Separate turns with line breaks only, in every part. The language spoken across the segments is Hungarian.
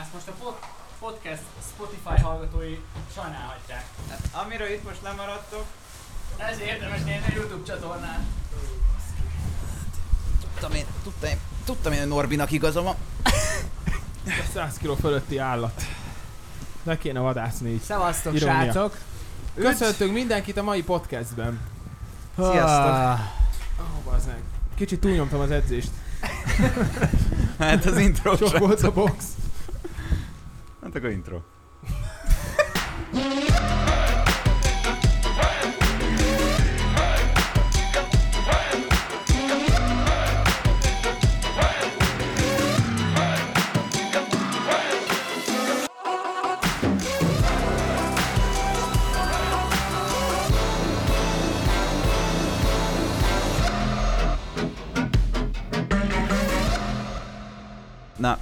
Ezt most a pod- podcast Spotify hallgatói sajnálhatják.
Hát, amiről itt most lemaradtok,
Ez érdemes nézni a YouTube csatornán.
tudtam én, tudtam én, tudtam én, hogy Norbinak igaza van.
100 kg fölötti állat. Ne kéne vadászni így.
Szevasztok,
Irónia.
srácok!
Köszöntünk mindenkit a mai podcastben.
Sziasztok.
Ah,
Ó, bazdmeg. Kicsit túlnyomtam az edzést.
Hát az intro
Sok
sem.
volt a box.
Hát akkor intro. Na,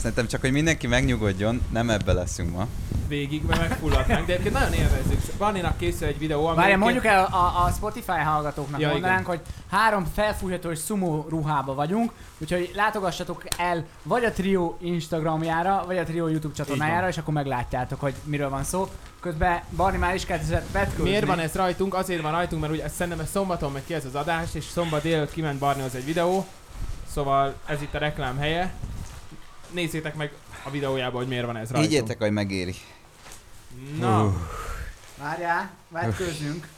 szerintem csak, hogy mindenki megnyugodjon, nem ebbe leszünk ma.
Végig, mert megfulladnánk. De egyébként nagyon élvezzük. Vannénak készül egy videó, ami...
Várjál, mondjuk el a, a Spotify hallgatóknak,
Ja,
ja, mondanánk, igen. hogy három felfújhatós sumo ruhába vagyunk, úgyhogy látogassatok el vagy a Trio Instagramjára, vagy a Trio YouTube csatornájára, és akkor meglátjátok, hogy miről van szó. Közben Barni már is kezdett vetkőzni.
Miért van ez rajtunk? Azért van rajtunk, mert ugye ezt szerintem ez szombaton megy ki ez az adás, és szombat délután kiment Barni az egy videó. Szóval ez itt a reklám helye. Nézzétek meg a videójában, hogy miért van ez rajtunk.
Higgyétek, hogy megéri.
Na,
Várjál, vetkőzünk.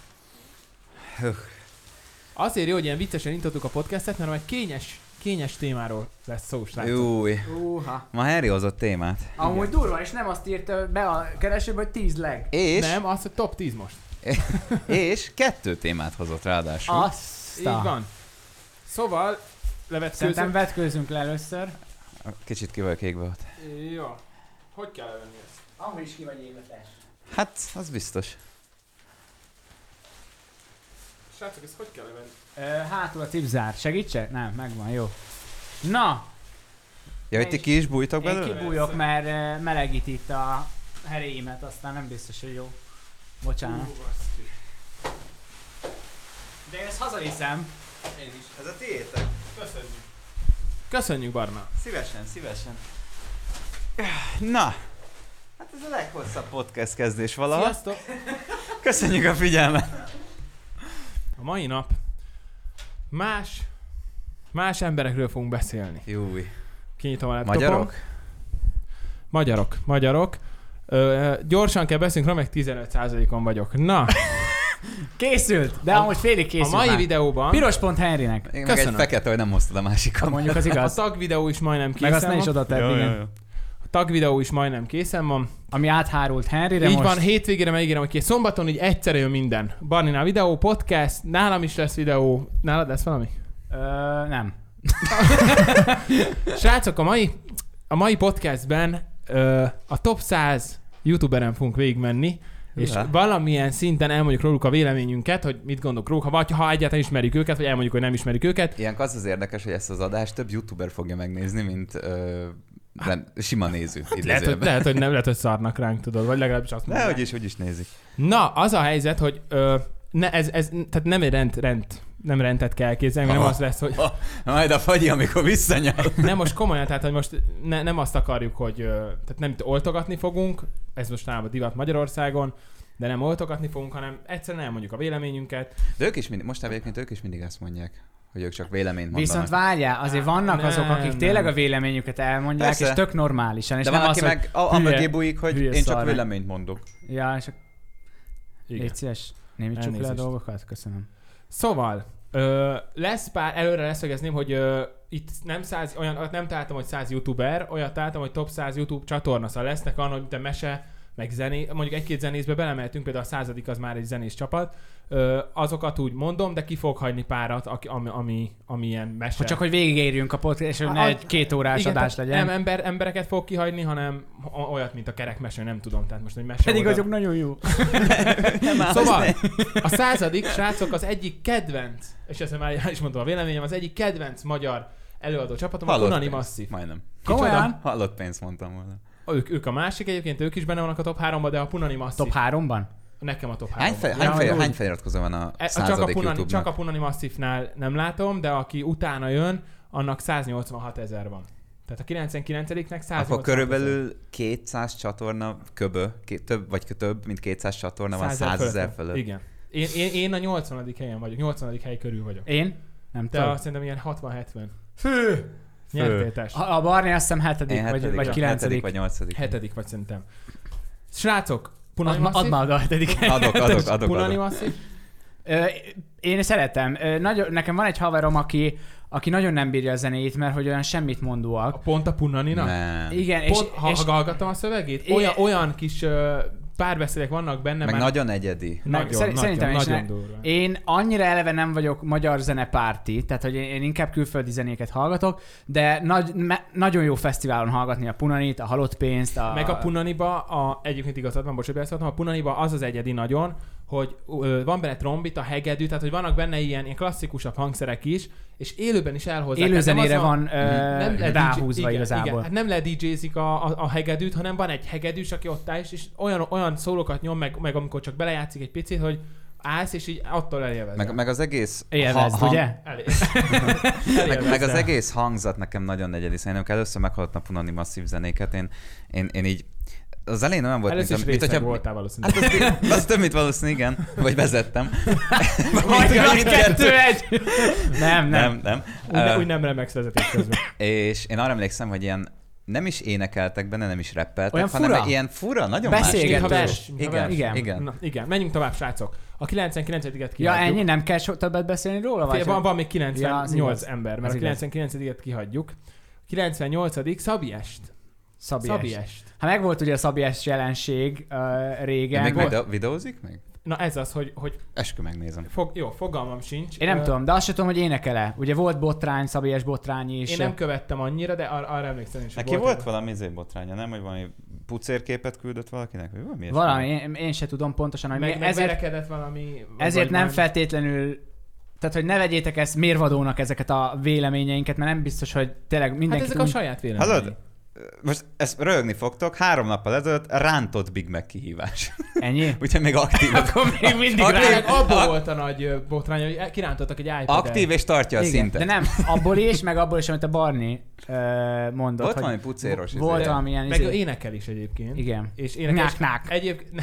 azért jó, hogy ilyen viccesen intottuk a podcastet, mert majd kényes, kényes témáról lesz szó, srácok.
Júj.
Uha.
Ma Harry hozott témát.
Amúgy durva, és nem azt írta be a keresőbe, hogy 10 leg.
És,
Nem, az a top 10 most.
és kettő témát hozott ráadásul.
Azt.
Így van. Szóval,
Szerintem
levetkőzünk.
vetkőzünk le először.
Kicsit ki vagyok égve ott.
Jó. Hogy kell levenni ezt?
Amúgy is ki vagy életes.
Hát, az biztos.
Srácok, ezt hogy kell levenni?
Ö, hátul a cipzár. Segítsek? Nem, megvan, jó. Na,
Ja, hogy ti ki is bújtok
én
belőle?
kibújok, mert ö, melegít itt a heréimet, aztán nem biztos, hogy jó. Bocsánat. De én ezt hazaviszem.
Én is. Ez a tiétek.
Köszönjük. Köszönjük, Barna.
Szívesen, szívesen. Na, hát ez a leghosszabb podcast kezdés valaha.
Sziasztok.
Köszönjük a figyelmet.
A mai nap más, más emberekről fogunk beszélni.
Júj.
Kinyitom a laptopom.
Magyarok?
Magyarok, magyarok. Ö, gyorsan kell beszélnünk, remek 15%-on vagyok. Na,
Készült, de
A-
amúgy félig
a
készült
mai
már.
videóban
Piros pont Henrynek.
Én meg egy
Köszönöm.
fekete, hogy nem hoztad a másikat.
Hát Mondjuk az
a
igaz.
tagvideó is majdnem
Meg
készen
azt ne is
van.
oda tedd, igen.
A tagvideó is majdnem készen van.
Ami áthárult Henryre
Így
most.
van, hétvégére megígérem, hogy kész. Szombaton így egyszerre jön minden. Barninál videó, podcast, nálam is lesz videó. Nálad lesz valami?
Ö, nem.
Srácok, a mai, a mai podcastben ö, a top 100 youtuberen fogunk végigmenni, és
Hűha.
valamilyen szinten elmondjuk róluk a véleményünket, hogy mit gondolunk róluk, ha, vagy ha egyáltalán ismerjük őket, vagy elmondjuk, hogy nem ismerjük őket.
Ilyenkor az az érdekes, hogy ezt az adást több youtuber fogja megnézni, mint ö,
Hát-
rend, sima néző.
Lehet hogy,
idézőjelben.
lehet, hogy nem, lehet, hogy szarnak ránk, tudod, vagy legalábbis azt
De
mondják.
hogy is, hogy is nézik.
Na, az a helyzet, hogy ö, ne, ez, ez, tehát nem egy rend, rend, nem rendet kell elképzelni, nem
Aha.
az lesz, hogy
Majd a fagyi, amikor visszanyal.
nem most komolyan, tehát hogy most ne, nem azt akarjuk, hogy ö, tehát nem itt oltogatni fogunk, ez most nálam a divat Magyarországon, de nem oltogatni fogunk, hanem egyszerűen elmondjuk a véleményünket.
De ők is mindig, most egyébként ők is mindig ezt mondják, hogy ők csak véleményt mondanak.
Viszont várjál, azért vannak
Nem,
azok, akik
nem.
tényleg a véleményüket elmondják,
Persze.
és tök normálisan. És
De
nem
van,
az,
aki
hogy...
meg a, a
hülye-
mögé bújik, hogy
hülye
én csak
szar meg.
véleményt mondok.
Ja, és
Igen.
Légy szíves, némítsuk le a
Elnézést.
dolgokat, köszönöm.
Szóval, ö, lesz pár, előre leszögezném, hogy ö, itt nem száz, olyan, olyat nem találtam, hogy száz youtuber, olyat találtam, hogy top 100 youtube csatorna, szóval lesznek annak, mint a mese, meg zené, mondjuk egy-két zenészbe belemeltünk, például a századik az már egy zenés csapat, ö, azokat úgy mondom, de ki fog hagyni párat, aki, ami, ami, ami ilyen mese.
Hogy csak, hogy végigérjünk a podcast, és hogy ne
A-
egy két órás
Igen,
adás
tehát
legyen.
Nem ember, embereket fog kihagyni, hanem o- olyat, mint a kerekmeső, nem tudom. Tehát most egy mese
Pedig
oldal-
azok nagyon jó.
Szóval a századik, srácok, az egyik kedvenc, és ezt már el is mondtam a véleményem, az egyik kedvenc magyar előadó csapatom, a
Hallott
Unani
pénzt.
Masszív.
Majdnem.
Komolyan?
Hallott pénzt mondtam volna.
Ők, ők a másik egyébként, ők is benne vannak a top 3 de a Punani Masszív.
Top 3-ban?
Nekem a top 3
Hány, fel,
Ja,
hány, fel,
amúgy.
hány feliratkozó van a
E,
századik
csak, a Punani,
YouTube-nak?
csak a Punani Masszívnál nem látom, de aki utána jön, annak 186 ezer van. Tehát a 99-nek 100
Akkor körülbelül 200 csatorna köbö, ké- több vagy több, mint 200 csatorna van 100 ezer fölött.
Igen. Én, én, én a 80. helyen vagyok, 80. hely körül vagyok.
Én? Nem
Te
tudom.
a, szerintem ilyen 60-70.
Fő!
Nyertél, társ.
A, a Barni azt hiszem hetedik,
Én
vagy,
hetedik,
vagy
vagy
kilencedik.
hetedik vagy nyolcadik.
Hetedik vagy szerintem. Srácok, Punani
Add ma- add
Masszív.
ma oda a hetedik.
Adok, adok, adok,
Punani
adok.
Masszív.
Ö, én szeretem. Ö, nagyon, nekem van egy haverom, aki, aki nagyon nem bírja a zenéit, mert hogy olyan semmit
A
mondóak.
pont a Punanina?
Nem.
Igen, és,
Pont, és, ha
és
és hallgattam a szövegét,
Igen.
olyan, olyan kis ö, párbeszédek vannak benne,
Meg
már
nagyon egyedi.
Meg
nagyon,
szer-
nagyon,
szerintem is
nagyon,
ne-
durva.
én annyira eleve nem vagyok magyar zenepárti, tehát hogy én, én inkább külföldi zenéket hallgatok, de nagy, me, nagyon jó fesztiválon hallgatni a Punanit, a Halott Pénzt, a...
Meg a Punaniba, a, egyébként igazad van, bocs, hogy beleszóltam, a Punaniba az az egyedi nagyon, hogy ö, van benne trombita, hegedű, tehát hogy vannak benne ilyen, ilyen klasszikusabb hangszerek is, és élőben is elhozzák.
élő
Tehát nem
zenére
az
van ö,
le
Eh, ráhúzva
DJ
igazából.
Igen, hát nem le DJ-zik a, a, a hegedűt, hanem van egy hegedűs, aki ott áll, és, és olyan, olyan szólókat nyom, meg, meg amikor csak belejátszik egy picit, hogy állsz, és így attól elélvezed.
Meg, meg az egész...
Élvezd,
ha- hang-
ugye?
Elé-
Meg,
elélvezed.
meg az egész hangzat nekem nagyon egyedi. Szerintem először meghallottam Punani masszív zenéket, én, én, én így... Az elején olyan volt,
Először is
mint, mint
részeg
hogyha...
voltál valószínűleg.
Hát az, az több, mint valószínű, igen. Vagy vezettem.
Vagy
Mind-
vagy
mindkettő.
kettő, egy! Nem, nem.
Nem, nem.
Úgy, ne,
Ö,
úgy nem remegsz vezetés közben.
És én arra emlékszem, hogy ilyen nem is énekeltek benne, nem is rappeltek,
Olyan
hanem
fura.
ilyen fura, nagyon
Beszélgető.
más.
Mintha vers,
stílusú.
mintha
Igen,
vers.
igen.
Igen.
igen.
Na, igen, menjünk tovább, srácok. A 99-et
Ja,
kihagyjuk.
ennyi? Nem kell so- többet beszélni róla?
Fél,
Vagy
van, van még
Ja, az
98
igaz.
ember,
Az
mert a
igaz.
99-et kihagyjuk. 98. Szabiest.
Szabiest.
Szabiest.
Hát meg volt ugye a Szabies jelenség uh,
De
régen.
még
Volt-
videó, videózik meg?
Na ez az, hogy, hogy
Eskü megnézem.
fog, jó, fogalmam sincs.
Én nem
Ö,
tudom, de azt sem tudom, hogy énekele. Ugye volt botrány, Szabies botrány is.
Én nem követtem annyira, de ar- arra emlékszem is. hogy
Neki volt valami izé botránya, nem? Hogy valami pucérképet küldött valakinek? Vagy valami ilyesmi?
Valami, én, én se tudom pontosan, hogy
Meg,
meg,
meg
ezért,
verekedett valami... vagy
ezért nem
valami-
feltétlenül tehát, hogy ne vegyétek ezt mérvadónak ezeket a véleményeinket, mert nem biztos, hogy tényleg
Hát
mindenki
ezek a saját vélemények.
Hallod? Most ezt röhögni fogtok, három nappal ezelőtt rántott Big Mac kihívás.
Ennyi?
Úgyhogy még aktív,
Akkor még mindig
Aktív-
rá.
Rának abból
Ak-
volt a nagy ö, botrány, hogy el- kirántottak egy iPad-et.
aktív és tartja a
Igen,
szintet.
de nem, abból is, meg abból is, amit a Barni uh, mondott.
Volt
hogy
valami pucéros izé.
Volt valami ilyen
Meg
izé.
ő énekel is egyébként.
Igen.
És énekes.
Nyák-nák.
Egyébként,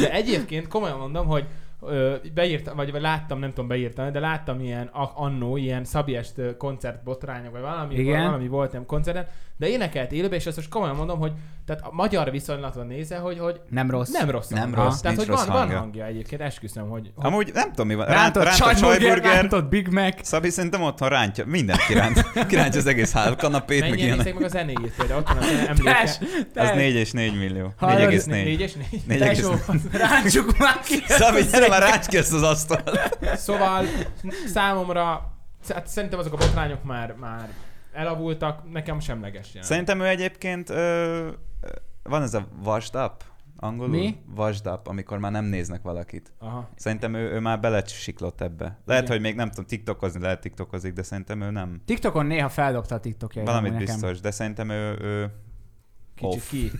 de egyébként komolyan mondom, hogy ö, beírtam, vagy, vagy láttam, nem tudom beírtam, de láttam ilyen a- annó, ilyen Szabiest ö, koncert botrányok, vagy valami,
Igen.
valami volt nem koncerten, de énekelt élőben, és azt most komolyan mondom, hogy tehát a magyar viszonylaton nézve, hogy, hogy
Nem rossz.
nem rossz.
Nem
hang.
rossz,
Tehát,
nincs
hogy van,
rossz
van
hangja.
hangja egyébként, esküszöm, hogy, hogy
Amúgy nem tudom mi van.
Rántott,
Rántott, rántott
sajtburger,
sajburger,
rántott Big Mac.
Szabi szerintem otthon rántja, mindent kiránt. Kirántja az egész hál, kanapét, meg
mennyien
ilyenek.
nézzék meg a izé? zenéjét például, ott van az emléke.
Tess,
Az
tess,
4 és 4 millió.
Hallod?
4,4.
Négyes, négy.
tesó,
4,4.
Rántsuk már ki.
Szabi, Szóval gyere már ránts ki ezt az asztalt.
Szóval számomra, hát szerintem azok a botrányok már, már elavultak, nekem semleges jelen.
Szerintem ő egyébként ö, ö, van ez a vasdap, angolul?
Mi?
Vasdap, amikor már nem néznek valakit.
Aha.
Szerintem ő, ő már belesiklott ebbe. Lehet,
Igen.
hogy még nem tudom, tiktokozni, lehet tiktokozik, de szerintem ő nem.
TikTokon néha feldobta a TikTokja.
Valamit biztos, de szerintem ő, ő
Kicsit
Off.
ki.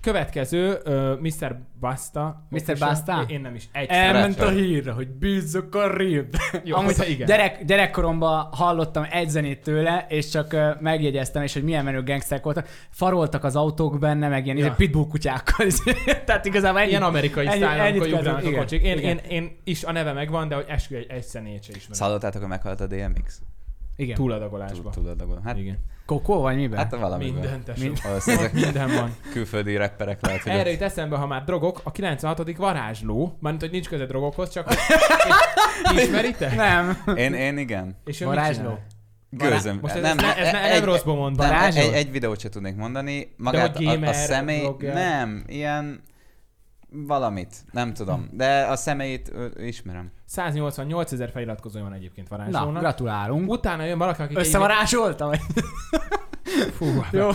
Következő, uh, Mr. Basta.
Mr.
Official.
Basta?
Én nem is. Egy
Elment a
Szeretem.
hírra, hogy bízzok a rib.
Jó,
Amúgy
az- igen.
Gyerek, gyerekkoromban hallottam egy zenét tőle, és csak ö, megjegyeztem, és hogy milyen menő gangsterek voltak. Faroltak az autók benne, meg ilyen
Ja.
ja. pitbull kutyákkal. Tehát igazából ennyi.
Ilyen amerikai
Ennyi-
sztájl,
ennyit
amikor
kezdünk,
ugranak a
igen,
kocsik. Én,
igen.
én, én, is a neve megvan, de hogy eskü egy, egy személyt se ismerem.
Szállottátok, hogy meghalt a DMX?
Igen.
Túladagolásba.
Tudod, hát,
Igen.
Kokó vagy miben?
hát valamiben.
Minden, tesó.
Mind-
Valószínűleg
Minden van.
külföldi rapperek lehet, hogy
Erre
ott-
jut eszembe, ha már drogok, a 96. varázsló, mármint, hogy nincs köze drogokhoz, csak ismeritek?
Nem.
én, én igen.
És ő mit
Varázsló.
csinál?
Gőzöm.
hát
hát e-
Most ez, nem, ez, ne, ez ne, nem rosszba mondva.
nem,
Varázsló?
egy, egy videót se tudnék mondani. Magát
hogy
a, a
gamer,
személy...
blogger.
Nem, ilyen... Valamit, nem tudom.
Hm.
De a személyét ö, ismerem.
188 ezer feliratkozója van egyébként
Na,
varázslónak.
gratulálunk.
Utána jön valaki, aki...
Összevarázsolta? Vagy?
Fú,
Jó.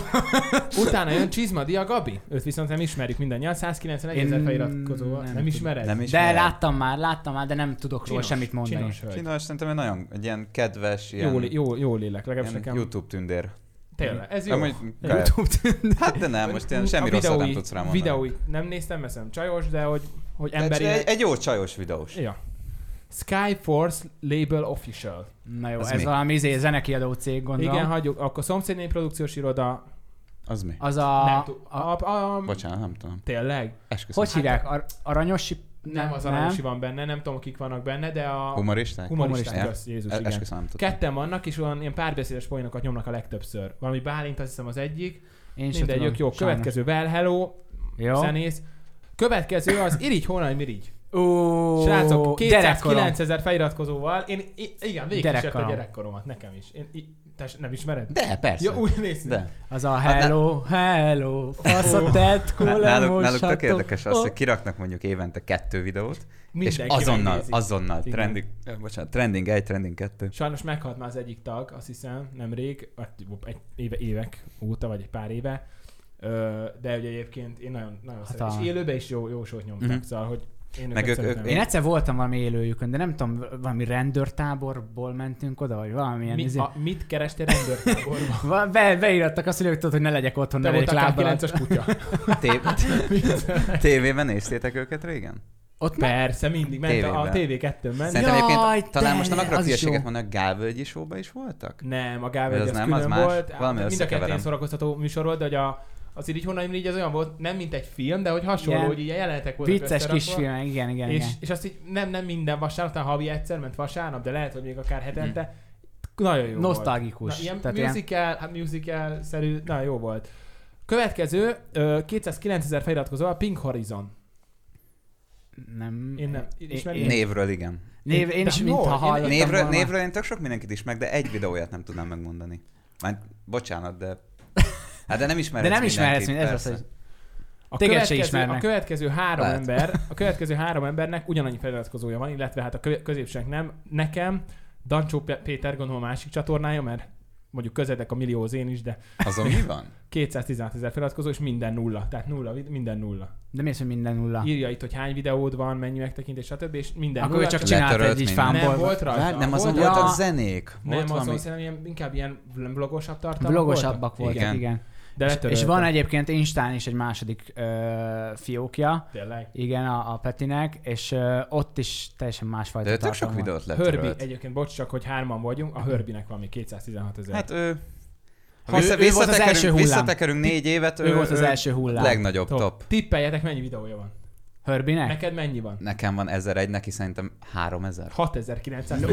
Utána jön Csizmadia Gabi. Őt viszont nem ismerjük mindannyian. 191 ezer
Én
feliratkozóval.
nem
Nem,
tudom.
ismered?
Nem ismerem.
De láttam már, láttam már, de nem tudok róla
Csinos,
semmit mondani.
Csinos hölgy.
Csinos, szerintem egy nagyon egy ilyen kedves, ilyen,
Jó, jó, jó lélek, legalábbis
ilyen
nekem.
YouTube tündér.
Tényleg, ez jó.
Amúgy, hát de nem, most ilyen semmi
A
rosszat nem
videói-
tudsz rá mondani.
Videóit nem néztem, mert szerintem csajos, de hogy, hogy
Emberi...
emberi...
Egy, egy jó csajos videós.
Ja. Skyforce Label Official.
Na jó,
Ez
ez, ez
mi?
valami izé, zenekiadó cég, gondolom.
Igen, hagyjuk. Akkor szomszédnél produkciós iroda.
Az mi?
Az a...
nem tud- a, a, a,
Bocsánat, nem tudom.
tényleg?
Esküszöm.
Hogy hívják? Ar- aranyos...
Nem, az Aranyosi van benne, nem tudom, kik vannak benne, de a
Hát, Humoristák?
humoristák,
Humoristák.
az Jézus,
E-
igen.
Esküszöm, nem tudom.
Ketten vannak, és olyan ilyen párbeszédes poénokat nyomnak a legtöbbször. Valami Bálint, azt hiszem az egyik.
Én sem
Mindegy,
tudom,
ők jó.
sajnos.
Következő, Well Hello,
Jó.
zenész. Következő az Irigy Honaj Mirigy.
Ó,
Srácok,
gyerekkorom.
209 ezer feliratkozóval, én i- igen, végig a
Gyerekkorom.
gyerekkoromat, nekem is. Én, i- te s- nem ismered?
De, persze.
Ja, úgy néz ki.
De.
Az a hello, hello, fasz a tetkó,
Náluk, náluk
lemosható.
tök érdekes az,
Ó.
hogy kiraknak mondjuk évente kettő videót,
Mindenki
és azonnal,
megnézi.
azonnal,
Igen.
trending, ö, bocsánat, trending egy, trending kettő.
Sajnos meghalt már az egyik tag, azt hiszem, nemrég, hát egy éve, évek óta, vagy egy pár éve. Ö, de ugye egyébként én nagyon, nagyon szeretem.
a-
És élőben is jó, jó sót nyomtak,
Mhm.
szóval, hogy én
Meg
őket
ők-
szeretem.
ők-
Én egyszer voltam valami élőjükön, de nem tudom, valami rendőrtáborból mentünk oda, vagy valamilyen.
Mi,
izé-
a, mit kerestél rendőrtáborban?
Va- Be, beírattak azt, hogy ők tudod, hogy ne legyek otthon,
Te
ne legyek
voltál
lábbal.
9-es kutya.
Té- tévében néztétek őket régen?
Ott me-
Persze, mindig ment a, a TV2-n ment.
Szerintem
Jaj,
egyébként talán
de,
most nem akarok
az is
hülyeséget
jó.
mondani, a Gálvölgyi showba is voltak?
Nem, a Gábor
Ez
az, az
nem,
külön
az más.
volt. Hát
Valami
mind a kettő
összekeverem.
ilyen szórakoztató műsor volt, de hogy a, az így honnan így az olyan volt, nem mint egy film, de hogy hasonló,
Igen.
hogy így jelenetek voltak
Vicces
összerakva.
kisfilm, igen, igen,
és,
igen.
és azt így nem, nem minden vasárnap, hanem havi egyszer ment vasárnap, de lehet, hogy még akár hetente. Nagyon jó volt. Na,
Mhm. Nosztalgikus.
ilyen
Tehát ilyen,
musical, hát musical-szerű, nagyon jó volt. Következő, ö, 209 ezer feliratkozó, a Pink Horizon.
nem.
Én nem.
Én-
Ismeri?
Névről igen.
Név, én
De
is
hol?
mintha
Én-
hallottam
Névről,
volna.
névről én tök sok mindenkit is meg, de egy videóját nem tudnám megmondani. Már, bocsánat, de... Hát de nem ismerhetsz
De nem ismerhetsz,
mindenkit,
mint ez az,
persze.
hogy
A
Téged se
következő,
ismernek.
A következő három
Lehet.
ember, a következő három embernek ugyanannyi feliratkozója van, illetve hát a kö- középsőnek nem. Nekem Dancsó P- Péter gondolom a másik csatornája, mert mondjuk közedek a millióhoz én is, de
Azon mi van?
216 ezer feliratkozó, és minden nulla. Tehát nulla, vid- minden nulla.
De miért, hogy minden nulla?
Írja itt, hogy hány videód van, mennyi megtekintés, stb. És minden
Akkor ő
nulla.
csak
csak
csinált
letörölt
egy így
mindent.
nem
fámból.
volt rajta.
Vár, nem azon
volt-
voltak
Ja.
zenék?
Nem
Volt
azon,
valami?
szerintem ilyen, inkább ilyen blogosabb tartalmak
Blogosabbak voltak,
Igen.
igen. igen.
De
És,
letöröltem.
és van egyébként Instán is egy második ö, fiókja,
Tényleg.
igen, a, a Petinek, és ö, ott is teljesen másfajta
De ő tök sok
tartalom van.
videót
Hörbi,
letörölt.
egyébként bocs csak, hogy hárman vagyunk, a Hörbinek van még 216 ezer.
Hát ő...
Ő- ő
Vissza,
volt az első
visszatekerünk,
hullám.
visszatekerünk négy évet,
Ő volt az első hullám.
Legnagyobb top.
Tippeljetek, mennyi videója van.
Hörbinek?
Neked mennyi van?
Nekem van 1001, neki szerintem 3000.
6900.
Ú,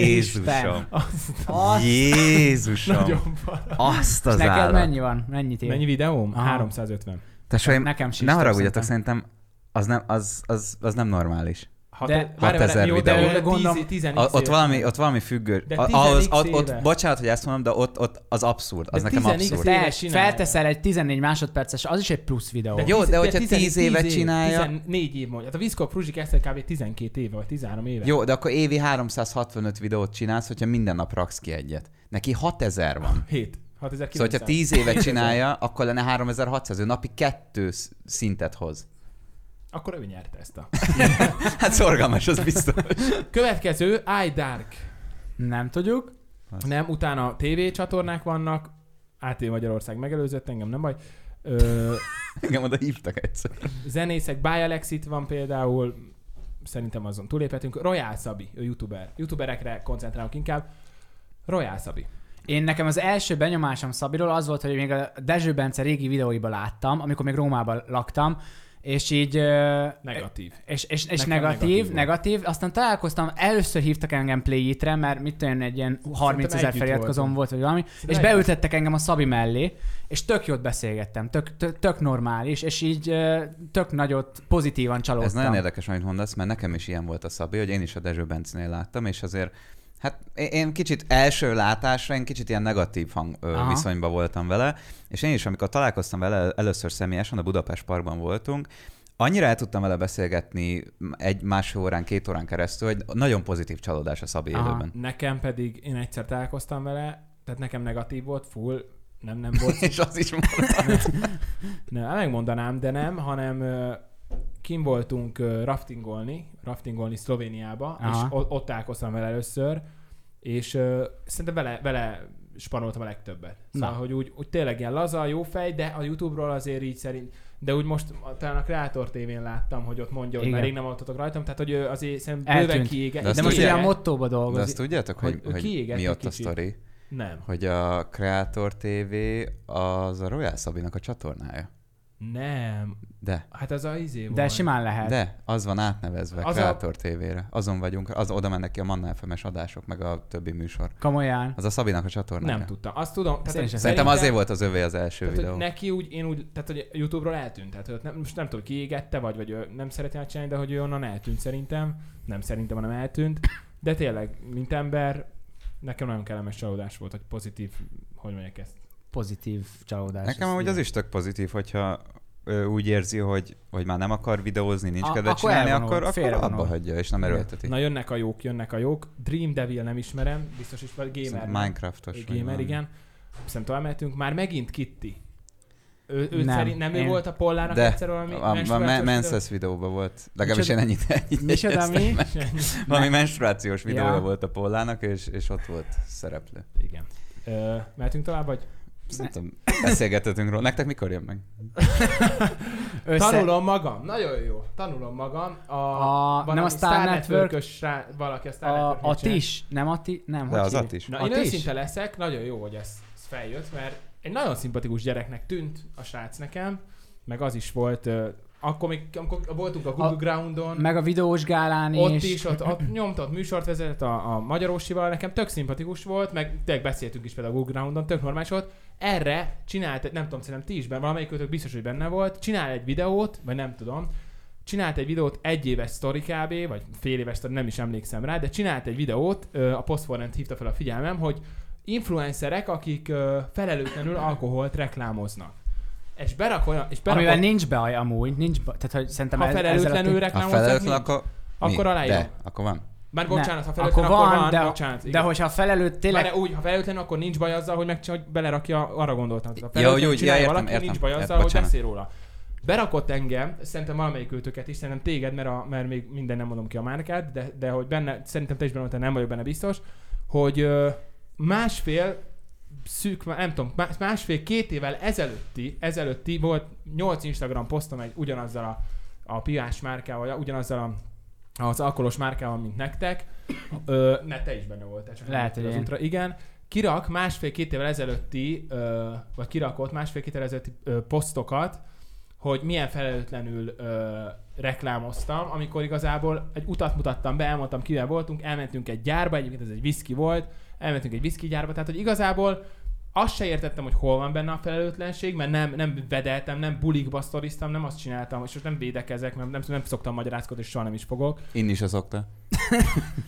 Jézusom!
Azt
Az-
Jézusom!
nagyon para.
Azt az
Neked
állat!
mennyi van? Mennyit ér?
Mennyi videóm?
Aha.
350.
Tesóim,
Nekem sincs
ne
több
haragudjatok, szerintem az nem, az, az, az nem normális.
Hat,
De-
várj,
6000
várj, jó, de
videó.
jó, de
Gondolom-
tíz- tizen
A,
x
ott,
éve.
valami, ott valami függő.
De
A- Ahhoz,
10x
ott,
éve.
ott, bocsánat, hogy ezt mondom, de ott, ott az abszurd, az
De
nekem
10x
abszurd.
éve
Fel,
csinálja.
felteszel egy 14 másodperces, az is egy plusz videó.
De
Jó,
tíz-
de hogyha
tizen-
tíz évet csinálja-
14 év mondja. Hát a Viszkok Fruzsik ezt kb. 12 éve, vagy 13 éve.
Jó, de akkor évi 365 videót csinálsz, hogyha minden nap raksz ki egyet. Neki 6000 van.
7. 6900.
Szóval, hogyha 10 évet csinálja, akkor lenne 3600, ő napi kettő sz- szintet hoz.
Akkor ő nyerte ezt a...
Hát szorgalmas, az biztos.
Következő, iDark.
Nem tudjuk.
Nem, utána TV csatornák vannak. ATV Magyarország megelőzött, engem nem baj. Ö,
Engem oda hívtak egyszer.
zenészek, By Alexit van például, szerintem azon túléphetünk. Royal Szabi, ő youtuber. Youtuberekre koncentrálok inkább. Royal Szabi.
Én nekem az első benyomásom Szabiról az volt, hogy még a Dezső Bence régi videóiba láttam, amikor még Rómában laktam, és így... ö,
Negatív.
És, és, és
Nekem
negatív,
negatív
negatív,
volt.
Aztán találkoztam, először hívtak engem Play re mert mit tudom, én, egy ilyen 30 ezer
együtt
feliratkozom
voltunk.
volt, vagy valami, és
együtt.
beültettek engem a Szabi mellé, és tök jót beszélgettem, tök, tök, tök normális, és így ö, tök nagyot pozitívan csalódtam.
Ez nagyon érdekes, amit mondasz, mert nekem is ilyen volt a Szabi, hogy én is a Dezső Bencnél láttam, és azért Hát én- én kicsit első látásra, én kicsit ilyen negatív hang, ö,
Aha.
viszonyban voltam vele, és én is, amikor találkoztam vele először személyesen, a Budapest Parkban voltunk, annyira el tudtam vele beszélgetni egy másfél órán, két órán keresztül, hogy nagyon pozitív csalódás a Szabi
Aha.
élőben.
Nekem pedig, én egyszer találkoztam vele, tehát nekem negatív volt, full, nem, nem volt.
És az is mondta.
nem, megmondanám, de nem, hanem ö, kim voltunk ö, raftingolni, raftingolni Szlovéniába,
Aha.
és o- ott találkoztam vele először, és ö, szerintem vele, vele spanoltam a legtöbbet. Szóval,
Na.
hogy úgy, úgy tényleg ilyen laza, jó fej, de a YouTube-ról azért így szerint, de úgy most a- talán a Creator tévén láttam, hogy ott mondja, hogy
Igen.
már rég nem voltatok rajtam, tehát hogy ő azért szerintem
Eltűnt.
bőven kiéget.
De azt
De most
ugye-
ugye a mottóba
De azt
dolgozik.
tudjátok, hogy,
Hogy ő
hogy,
kiégett
mi
egy
ott a
kicsit.
sztori?
Nem.
Hogy a Creator TV az a Royal Szabinak a csatornája.
Nem.
De.
Hát az a izé
De
volt.
simán lehet.
De, az van átnevezve
Az
az
a-
Creator TV-re. Azon vagyunk, az, oda mennek ki a Manna FM-es adások, meg a többi műsor.
Komolyan.
Az a Szabinak a csatornája.
Nem tudtam. Azt tudom. Tehát,
Szerintem-
hogy
Szerintem azért volt az övé az első
Tehát,
videó.
hogy neki úgy, én úgy, tehát hogy YouTube-ról eltűnt, tehát hogy ott nem, most nem tudom, kiégette vagy, vagy ő nem szereti megcsinálni, de hogy ő onnan eltűnt szerintem, nem szerintem, hanem eltűnt, de tényleg, mint ember, nekem nagyon kellemes csalódás volt, hogy pozitív, hogy mondják ezt.
Pozitív csalódás.
Nekem amúgy az is tök pozitív, hogyha ő úgy érzi, hogy, hogy már nem akar videózni, nincs
A-
kedve
akkor
csinálni,
elvonul,
akkor, akkor
félrevonul.
abba hagyja, és nem
Igen.
erőlteti.
Na jönnek a jók, jönnek a jók, Dream Devil nem ismerem, biztos is vagy gamer.
Szerintem Minecraftos.
Egy
vagy
gamer,
valami.
igen. Szerintem tovább mehetünk, már megint Kitty. Ő, ő nem,
Nem,
szerint, nem én... ő
én-
volt a pollának
De,
egyszer valami
A, a
menstruációs
men-
videó?
Menses videóban volt, legalábbis én
Micsoda-
ennyit, ennyit
Micsoda
jegyeztem.
mi?
Valami menstruációs videója
Ja.
volt a Pollának, és, és ott volt szereplő.
Igen. Ö, mehetünk tovább, vagy?
Szerintem beszélgetetünk róla. Nektek mikor jön meg?
Össze...
Tanulom magam. Nagyon jó. Tanulom magam. A,
A-
valami
nem a Star Network?
Network-ös srá- valaki a Star
A,
Network-nél
a
csinál.
tis, nem a ti, nem,
De
hogy
az
hívják?
at is.
Na,
A
én
tis?
őszinte leszek, nagyon jó, hogy ez, ez feljött, mert egy nagyon szimpatikus gyereknek tűnt a srác nekem, meg az is volt, ö, akkor még amikor voltunk a Google
A-
Groundon,
Meg a videós gálán
ott
is.
is, ott, ott nyomtott műsort vezetett a, a Magyarósival, nekem tök szimpatikus volt, meg tényleg beszéltünk is például a Google Groundon, tök normális volt. Erre csinált, egy- nem tudom, szerintem ti is benne, valamelyikőtök biztos, hogy benne volt, csinál egy videót, vagy nem tudom, csinált egy videót egy éves sztori kb, vagy fél éves sztori, nem is emlékszem rá, de csinált egy videót, ö, a Postforrent hívta fel a figyelmem, hogy influencerek, akik ö, felelőtlenül alkoholt reklámoznak. És berak olyan, és berak
Amivel nincs baj amúgy, nincs baj. Tehát, hogy szerintem
ha
ez-
felelőtlenül
ezzel a
Ha
reklámoznak,
felelőtlen,
nincs.
akkor
Akkor
mi?
aláírom.
De, akkor van.
Már
Ne.
bocsánat, ha
Akkor
felelőtlen, akkor,
van,
van,
de-
bocsánat.
De hogyha felelőtt
tényleg...
tényleg...
Már úgy, ha felelőtlen, akkor nincs baj azzal, hogy, meg, hogy belerakja, arra gondoltam. Ha
Ja,
felelőtlen
hogy úgy, ja,
csinálja
értem,
valaki,
értem,
nincs baj azzal,
értem,
hogy
bocsánat.
beszél róla. Berakott engem, szerintem valamelyik őtöket is, szerintem téged, mert, a, mert még minden nem mondom ki a márkát, de, de hogy benne, szerintem te is benne voltál, nem vagyok benne biztos, hogy ö, másfél szűk, nem tudom, más- másfél-két évvel ezelőtti, ezelőtti volt nyolc Instagram posztom egy ugyanazzal a, a piás márkával, ugyanazzal a az alkoholos márkával, mint nektek. Ö, ne, te is benne voltál. Csak
Lehet,
nem
hogy
az
én.
útra. Igen. Kirak másfél-két évvel ezelőtti, ö, vagy kirakott másfél-két évvel ezelőtti ö, posztokat, hogy milyen felelőtlenül ö, reklámoztam, amikor igazából egy utat mutattam be, elmondtam, kivel voltunk, elmentünk egy gyárba, egyébként ez egy viszki volt, elmentünk egy viszki gyárba, tehát hogy igazából azt se értettem, hogy hol van benne a felelőtlenség, mert nem, nem vedeltem, nem bulikba sztoriztam, nem azt csináltam, és most nem védekezek, mert nem, nem szoktam magyarázkodni, és soha nem is fogok.
Én is az szokta.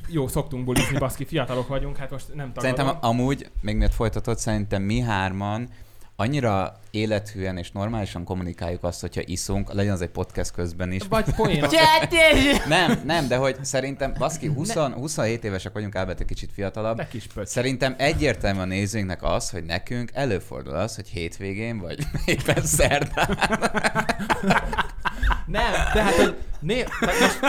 Jó, szoktunk bulizni, baszki, fiatalok vagyunk, hát most nem tagadom.
Szerintem amúgy, még miért folytatod, szerintem mi hárman annyira élethűen és normálisan kommunikáljuk azt, hogyha iszunk, legyen az egy podcast közben is.
Vagy poén.
hát Csettés!
Nem, nem, de hogy szerintem, baszki, 20, 27 évesek vagyunk, Albert egy kicsit fiatalabb.
Te kis pöcs.
Szerintem egyértelmű a nézőinknek az, hogy nekünk előfordul az, hogy hétvégén, vagy éppen szerdán.
Nem, tehát, hogy né, tehát most,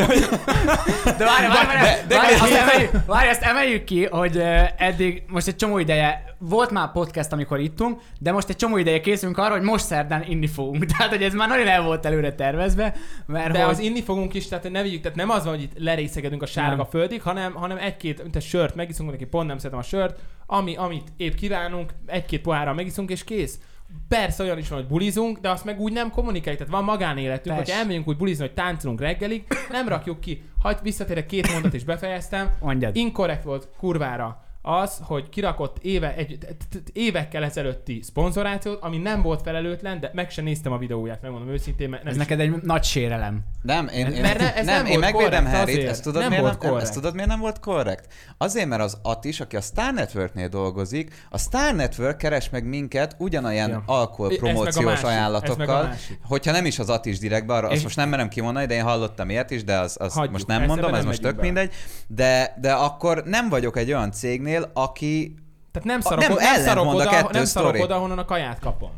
De várj, várj, várj,
de-
várj,
de-
azt emeljük- várj, azt emeljük ki, hogy ö, eddig most egy csomó ideje, volt már podcast, amikor ittunk, de most egy csomó ideje készülünk arra, hogy most szerdán inni fogunk. Tehát, hogy ez már nagyon el volt előre tervezve, mert
de
hogy...
az inni fogunk is, tehát ne vigyük, tehát nem az van, hogy itt lerészegedünk a sárga
Nem.
földig, hanem, hanem egy-két, mint egy sört, megiszunk neki, pont nem szeretem a sört, ami, amit épp kívánunk, egy-két pohárral megiszunk, és kész. Persze olyan is van, hogy bulizunk, de azt meg úgy nem kommunikáljuk. Tehát van magánéletünk,
Persze.
hogy elmegyünk úgy bulizni, hogy táncolunk reggelig, nem rakjuk ki. Hagy visszatérek két mondat, és befejeztem.
Mondjad.
Inkorrekt volt kurvára az, hogy kirakott éve, egy, t- t- évekkel ezelőtti szponzorációt, ami nem volt felelőtlen, de meg sem néztem a videóját, megmondom őszintén, mert nem
Ez
is
neked egy nagy sérelem.
Nem, én, én,
Mert ne- ez nem
én
volt
megvédem
korrekt,
Harryt,
azért.
ezt tudod,
Nem
miért
volt
nem, nem, ezt
korrekt.
tudod, miért nem volt korrekt? Azért, mert az Atis, aki a Star Networknél dolgozik, a Star Network keres meg minket ugyanolyan
Ja.
ja.
Ez meg a
alkoholpromóciós
másik, ez meg a
ajánlatokkal,
másik.
hogyha nem is az Atis direktben, arra azt
És-
most nem merem kimondani, de én hallottam ilyet is, de az, az
Hagyjuk,
most nem
ezt
mondom,
ebben
ez
nem
most tök
megyünk
be. mindegy, de, de akkor nem vagyok egy olyan cégnél, aki,
Tehát nem
A-
szarok,
nem,
nem, nem
ellentmond
szarok,
a
oda,
kettő
nem szarok
sztori.
oda, ahonnan a kaját kapom.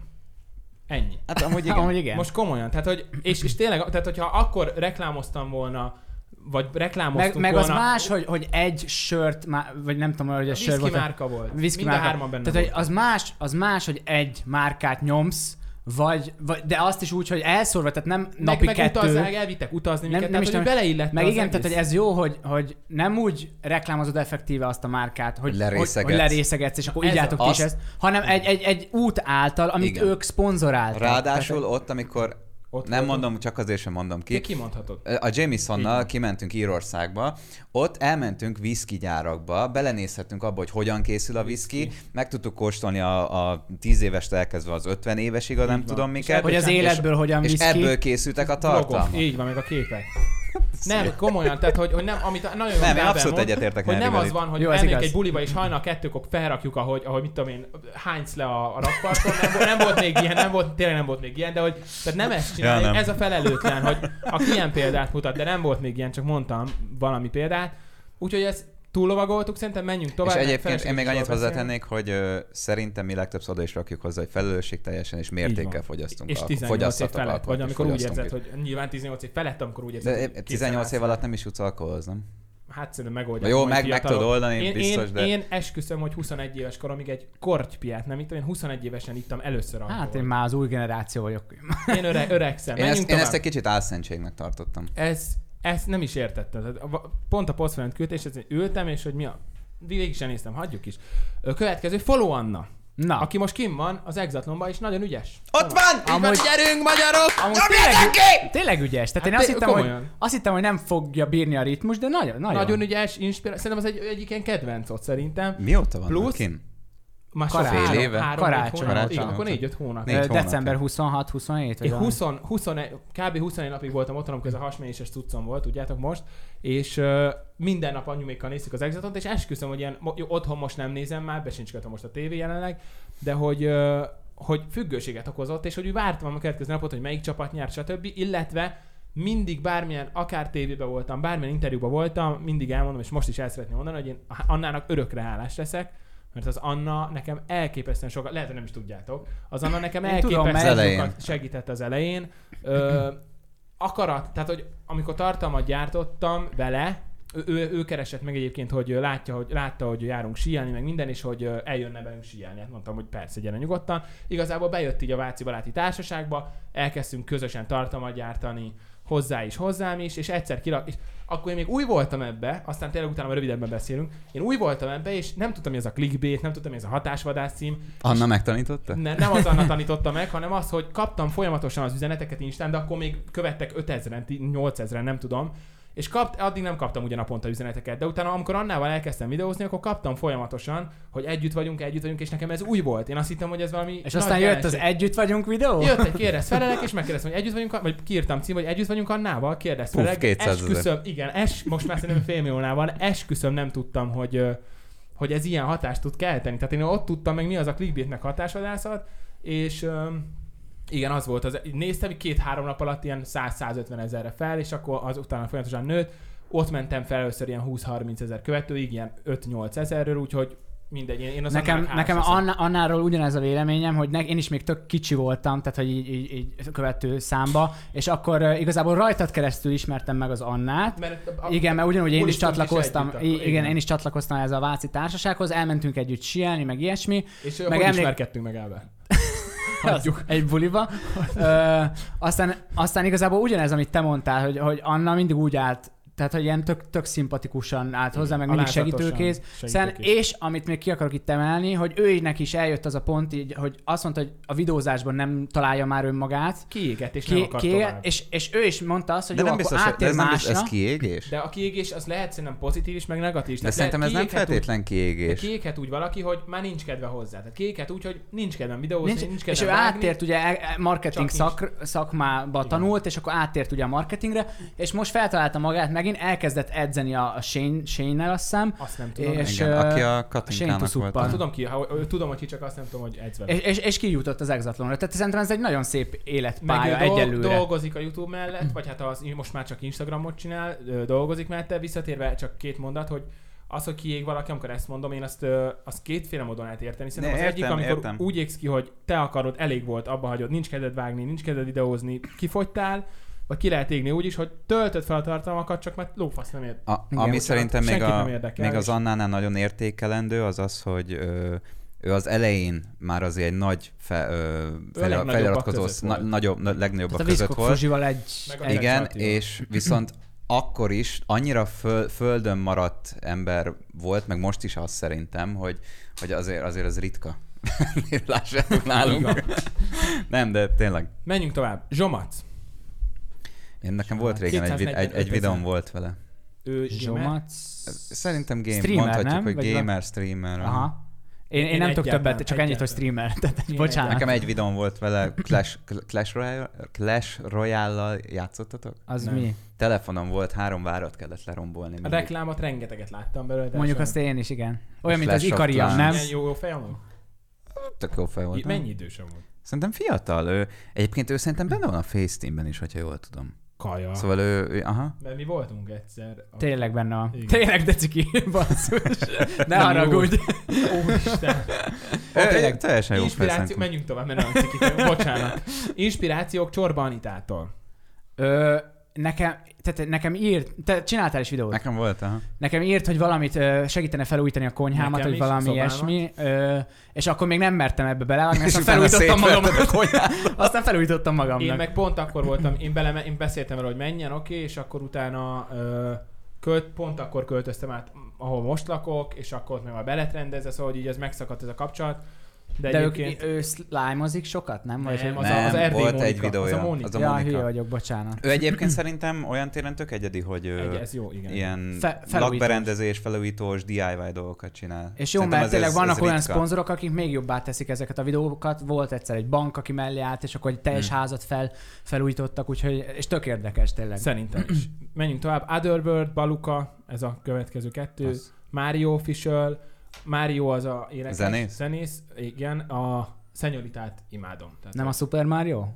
Ennyi.
hát amúgy igen,
Amúgy igen.
Most komolyan, tehát hogy, és, és tényleg, tehát hogyha akkor reklámoztam volna vagy reklámoztunk
Meg, meg az
volna.
más, hogy, hogy egy sört, má- vagy nem tudom, hogy
a
egy sör
whisky
volt.
márka volt.
Whisky
Mind a
márka.
hárman benne
Tehát hogy az más, az más, hogy egy márkát nyomsz, vagy, vagy de azt is úgy, hogy elszórva, tehát nem
meg,
napi
meg
kettő.
utazzák, elvittek utazni
Nem-
minket,
nem
nem,
is
tehát, hogy
tudom,
beleillett
Meg
az
igen, tehát
egész.
hogy ez jó, hogy, hogy nem úgy reklámozod effektíve azt a márkát, hogy, hogy,
Lerészegetsz.
hogy lerészegetsz, és akkor
Ez
így álltok ti is
az-
ezt, hanem egy, egy, egy út által, amit
Igen.
ők szponzoráltak.
Ráadásul ott, amikor
Ott
nem
volt.
mondom, csak azért sem mondom
Ki?
ki.
kimondhatod.
A Jamesonnal kimentünk Írországba, ott elmentünk viszkigyárakba, belenézhetünk abba, hogy hogyan készül a viszki, meg tudtuk kóstolni a, a 10 éves tehát az 50 évesig, a nem
Így van.
tudom
És
miket.
hogy az
És-
életből hogyan
És
visz ki.
ebből készültek a
Blogok.
tartalmak.
Így van, meg a képek. nem, komolyan, tehát hogy, hogy nem, amit nagyon jól
én
Gábor
abszolút
mond,
egyetértek
Hogy nem
Henrivel
az
itt.
van, hogy
Jó, ez
elmegyünk
igaz.
egy buliba, és hajnal kettőkor felrakjuk, ahogy, ahogy mit tudom én, hánysz le a, a rakparton, nem, volt- nem, volt még ilyen, nem volt, tényleg nem volt még ilyen, de hogy tehát nem ezt csináljuk,
Ja, nem.
ez a felelőtlen, hogy a ilyen példát mutat, de nem volt még ilyen, csak mondtam valami példát. Úgyhogy ezt túllovagoltuk, szerintem menjünk tovább.
és
mert
egyébként én még annyit
felesleges dolog beszélni.
hozzátennék, hogy ö, szerintem mi legtöbbször oda is rakjuk hozzá, hogy felelősségteljesen és
Így
mértékkel
van.
fogyasztunk
És
alko-
18 év
fogyasztatok
felett,
alkoholt,
vagy
és
amikor úgy
fogyasztunk
érzed,
itt.
hogy nyilván 18 év felett, amikor úgy érzed,
De
hogy
18 év
készen állsz
alatt nem is jutsz alkoholhoz, nem?
rá. Hát szerintem megoldja.
Jó, meg, meg tudod oldani,
én,
biztos,
én,
de...
én esküszöm, hogy 21 éves koromig egy kortypiát nem ittam, én 21 évesen ittam először
Hát
alkoholt.
én már az új generáció vagyok.
én, öre, öregszem.
Én
Menjünk
ezt, én
tovább.
ezt egy kicsit álszentségnek tartottam.
ez, ezt nem is értettem. Tehát a- a- Pont a posztfelent küldte, és ezt ültem, és hogy mi a... Végig sem néztem, hagyjuk is. Ö, Következő, Follow Anna,
Na,
aki most kim van az Exatlonban, és nagyon ügyes.
Ott van!
Amúgy-
Amúgy... Gyerünk, magyarok!
amúgy
Nyomjátok ki!
tényleg ügyes. Tehát
Hát
én azt
te-
hittem, hogy,
komolyan.
azt hittem, hogy nem fogja bírni a ritmus, de nagyon, nagyon.
Nagyon, nagyon ügyes, inspirál. Szerintem az egy, egyik ilyen kedvencot szerintem.
Mióta van
Plusz-
Plusz... kin?
Már
Karácsony.
sok-
Fél
három,
éve?
Három,
Karácsony.
Karácsony. Hónap,
Karácsony
igen, akkor
óta.
négy-öt hónap.
Négy
Ö,
hónapja.
December 26-27 vagy
Én
valami.
20, 21, kb. 21 napig voltam otthon, amikor ez a hasmenéses cuccom volt, tudjátok most, és uh, minden nap anyumékkal néztük az Exatont, és esküszöm, hogy ilyen, mo- jó, otthon most nem nézem már, be sincs kötöm most a tévé jelenleg, de hogy uh, hogy függőséget okozott, és hogy úgy vártam a következő napot, hogy melyik csapat nyert, stb. Illetve mindig bármilyen, akár tévében voltam, bármilyen interjúban voltam, mindig elmondom, és most is el szeretném mondani, hogy én Annának örökre hálás leszek, mert az Anna nekem elképesztően sokat, lehet, hogy nem is tudjátok, az Anna nekem
Én tudom, mert-
Az
elképesztően
elején.
sokat segített az elején. Ö, akarat, tehát hogy amikor tartalmat gyártottam vele, ő, ő, ő keresett meg egyébként, hogy ö, látja, hogy látta, hogy járunk síelni, meg minden, és hogy ö, eljönne velünk síelni. Hát mondtam, hogy persze, gyere nyugodtan. Igazából bejött így a Váci Baráti Társaságba, elkezdtünk közösen tartalmat gyártani, hozzá is, hozzám is, és egyszer kirak, és akkor én még új voltam ebbe, aztán tényleg utána már rövidebben beszélünk, én új voltam ebbe, és nem tudtam, mi ez a clickbait, nem tudtam, mi ez a hatásvadász cím,
Anna megtanította?
ne, nem az Anna tanította meg, hanem az, hogy kaptam folyamatosan az üzeneteket Instán, de akkor még követtek 5000-en, 8000-en, nem tudom. És kapt, addig nem kaptam ugye naponta üzeneteket, de utána, amikor Annával elkezdtem videózni, akkor kaptam folyamatosan, hogy együtt vagyunk, együtt vagyunk, és nekem ez új volt. Én azt hittem, hogy ez valami.
És
nagy
aztán jött az
jelenség.
Együtt vagyunk videó?
Jött egy kérdez felelek, és megkérdeztem, hogy együtt vagyunk, vagy kiírtam cím, hogy együtt vagyunk Annával, kérdez
Puff,
felelek.
200 000.
Esküszöm, igen, es, most már szerintem fél milliónál van, esküszöm nem tudtam, hogy, ö, hogy ez ilyen hatást tud kelteni. Tehát én ott tudtam meg, mi az a clickbaitnek hatásvadászat, és öm, igen, az volt. Az, néztem, hogy két-három nap alatt ilyen 100-150 ezerre fel, és akkor az utána folyamatosan nőtt. Ott mentem fel először ilyen 20-30 ezer követőig, ilyen 5-8 ezerről, úgyhogy mindegy. Én, én az
Nekem,
Annának hálás
nekem
leszek.
Anna, Annáról ugyanez a véleményem, hogy ne, én is még tök kicsi voltam, tehát hogy így, így, így követő számba, és akkor uh, igazából rajtad keresztül ismertem meg az Annát.
Mert a-
Igen, mert ugyanúgy én is
bulisztunk
csatlakoztam,
együtt akkor,
i- igen, én is csatlakoztam ez a Váci társasághoz, elmentünk együtt sielni, meg ilyesmi,
És
Meg
meg hogy
emlék-
ismerkedtünk meg Ábel?
hagyjuk egy buliba. Ö, aztán, aztán igazából ugyanez, amit te mondtál, hogy, hogy Anna mindig úgy állt, tehát hogy ilyen tök, tök szimpatikusan állt hozzá, meg mindig
Alázatosan
segítőkész. Szen,
segítőkész.
és amit még ki akarok itt emelni, hogy ő neki is eljött az a pont, így, hogy azt mondta, hogy a videózásban nem találja már önmagát.
Kiégett, és nem
Ki,
akart
ki,
tovább.
és, és ő is mondta azt, hogy
De
jó,
nem
akkor
biztos, hogy de
áttér
ez nem biztos,
másra.
ez kiégés?
De a kiégés az lehet szerintem pozitív is, meg negatív is.
De
Tehát
szerintem ez nem
lehet- kiéghet
feltétlen
Úgy, de
kiégés.
kiéghet úgy valaki, hogy már nincs kedve hozzá. Tehát kiéghet úgy, hogy nincs kedvem videózni, nincs, nincs
és
kedvem
ő
vágni.
áttért ugye e- e- marketing
Csak nincs.
szak, szakmába
Igen.
tanult, és akkor áttért ugye a marketingre, és most feltalálta magát megint, elkezdett edzeni a, a Shane, Shane-nel azt hiszem,
Azt nem tudom.
és,
És...
Igen,
ö,
aki a
Shane
Katinkának
Tuszuppan.
volt.
Azt
a-
tudom ki, ha, ö, tudom, hogy ki, csak azt nem tudom, hogy edz vele.
és, és, és kijutott az exatlonra. Tehát szerintem ez egy nagyon szép
Meg
életpálya
ő dolg,
egyelőre. Mhm.
dolgozik a YouTube mellett, vagy hát az, most már csak Instagramot csinál, ö, dolgozik mellette, visszatérve csak két mondat, hogy az, hogy kiég valaki, amikor ezt mondom, én azt, ö, azt kétféle módon lehet érteni. Szerintem
Ne,
az
értem,
egyik, amikor
értem.
úgy égsz ki, hogy te akarod, elég volt, abba hagyod, nincs kedved vágni, nincs kedved videózni, kifogytál, vagy ki lehet égni úgy is, hogy töltöd fel a tartalmakat, csak mert lófasz nem ér.
A,
Igen,
Igen, ami
bocsánat,
szerintem még,
senkit nem
a,
érdekel,
még az
és-
Annánál nagyon értékelendő, az az, hogy ö, ő az elején már azért egy nagy fe, ö, fel,
legnagyobbak
feliratkozó,
között
na,
volt.
nagyobb, na, legnagyobbak
Tehát a
között
Viszkok
volt.
Fuzsival egy...
Meg a
egy
Igen,
Attila.
és viszont akkor is annyira föl, földön maradt ember volt, meg most is az szerintem, hogy, hogy azért, azért az ritka. Lássátok nálunk. Nem, de tényleg.
Menjünk tovább. Zsomac.
Én nekem volt régen egy, vid- egy, egy
245
videóm
ezer.
volt vele.
Ő gamer.
Zsomac...
Szerintem game,
Streamer,
mondhatjuk,
nem?
hogy
Vagy
gamer, streamer.
Aha. Én, én,
Én
nem tudok
egyáltalán-
többet, csak ennyit, hogy
egyáltalán.
streamer. Tehát,
Én
bocsánat.
Nekem egy videóm volt vele, Clash, Clash, Royale, Clash Royale-lal játszottatok?
Az
Nem.
mi?
Telefonom volt, három várat kellett lerombolni.
A
mindig.
reklámot rengeteget láttam belőle. De
Mondjuk
sajnos-
azt én is, igen. Olyan, mint az
Clash of
Ikariam, nem?
Clans.
Milyen jó fejem volt?
Tök jó fej voltam.
Mennyi idősem volt?
Szerintem fiatal. Ő, egyébként ő szerintem benne van a Facetime-ben is, hogyha jól tudom.
Kaja.
Ah. Szóval ő, ő aha.
Mert mi voltunk egyszer. A...
Tényleg benne van.
Igen.
Tényleg, de ciki, basszus. Ne
Nem jó.
haragudj.
Úristen.
Ő,
tényleg.
tényleg teljesen jó
Inspiráció,
felszánkom.
menjünk tovább, mert nem cikik, bocsánat. Inspirációk Csorba Anitától.
Ö, nekem, tehát nekem írt, te csináltál is videót.
Nekem volt, aha.
Nekem írt, hogy valamit ö, segítene felújítani a konyhámat,
Nekem
vagy
is,
valami
szobámat.
ilyesmi, ö, és akkor még nem mertem ebbe belevágni,
És
aztán
utána
felújítottam
szétverted
magamnak. Aztán felújítottam magamnak.
Én meg pont akkor voltam, én, beleme, én beszéltem vele, hogy menjen, oké, és akkor utána ö, költ, pont akkor költöztem át, ahol most lakok, és akkor ott meg a belet rendezve, szóval hogy így ez megszakadt ez a kapcsolat. De,
De
egyébként...
ő, ő slime-ozik sokat, nem? Vagy
Nem,
hogy-
az,
Nem,
a, az Erdély
volt
Mónika,
egy videója,
Az a Mónika.
az a-
ja,
Monika.
hülye vagyok, bocsánat.
Ő egyébként szerintem olyan téren tök egyedi, hogy ő
Egy, ez jó, igen.
ilyen
Fe- felújítós.
lakberendezés, felújítós, DIY dolgokat csinál.
És jó,
Szerintem
mert
ez-
tényleg
ez-
vannak
ez
olyan
ritka.
szponzorok, akik még jobbá teszik ezeket a videókat. Volt egyszer egy bank, aki mellé állt, és akkor egy teljes
Hmm.
házat fel, felújítottak, úgyhogy, és tök érdekes tényleg.
Szerintem is. Menjünk tovább. Otherworld, Baluka, ez a következő kettő.
Az.
Mario Official. Mario az a énekes.
Zenész?
Zenész, igen. A Szenyoritát imádom. Tehát
Nem a Super Mario?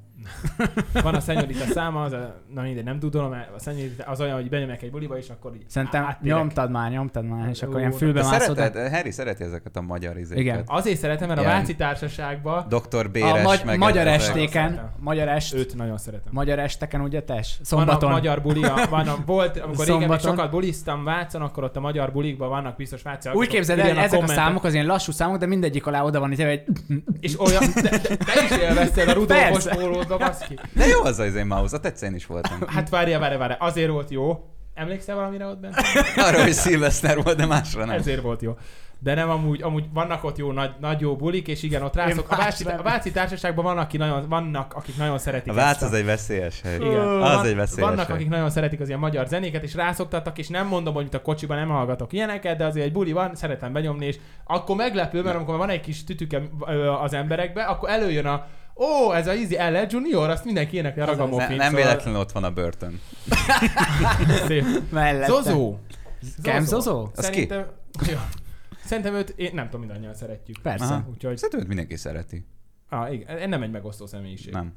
Van a szenyorita száma, az a, na mindegy, nem tudom, a szenyorita az olyan, hogy benyomják egy buliba, és akkor így
Szerintem
áttérek.
nyomtad már, nyomtad már, és
Hát, Ú,
akkor ilyen
de
fülbe
Te
mászod.
szereted, Harry szereti ezeket a magyar izéket.
Igen.
Azért szeretem, mert a
Ilyen.
Váci társaságban
Dr. Béres,
A magy-
meg
magyar
ezek.
estéken,
Szeretem.
magyar est,
őt nagyon szeretem.
magyar esteken ugye tes?
Van
Szombaton.
a magyar buli, a, van a, volt, amikor régen még
Szombaton.
sokat buliztam Vácon, akkor ott a magyar bulikban vannak biztos Váci
Úgy
hallgatók,
képzeld
igen,
el, ezek a
kommentek-
számok az ilyen lassú számok, de mindegyik alá oda van, itt egy
És olyan, de, de, te is élvezted a Rudolfos
Persze.
pólódba, baszki.
De jó az az én mouse, a tetszén is voltam.
Hát várja, várja, várja, azért volt jó. Emlékszel valamire ott bent?
Arra, hogy Szilveszter volt, de másra nem.
Ezért volt jó. De nem amúgy, amúgy vannak ott jó nagy, nagy jó bulik, és igen, ott rászok. A
más
Váci,
nem.
a Váci társaságban van, aki nagyon, vannak, akik nagyon szeretik.
A
ezt
Vác az egy veszélyes hely.
Igen.
Az egy veszélyes
Vannak,
hely.
akik nagyon szeretik az ilyen magyar zenéket, és rászoktattak, és nem mondom, hogy itt a kocsiban nem hallgatok ilyeneket, de azért egy buli van, szeretem benyomni, és akkor meglepő, mert amikor van egy kis tütüke ö, az emberekbe, akkor előjön a Ó, ez a Easy L Junior, azt mindenki énekel a szóval
Ne,
ragamofin.
nem véletlenül ott van a börtön.
mellette.
Zozó.
Kem Zozó?
Az ki?
Szerintem... Ja. Szerintem őt, én nem tudom, mindannyian szeretjük.
Persze.
Aha.
Úgyhogy,
Szerintem őt mindenki szereti.
ah, igen, nem egy megosztó személyiség.
Nem.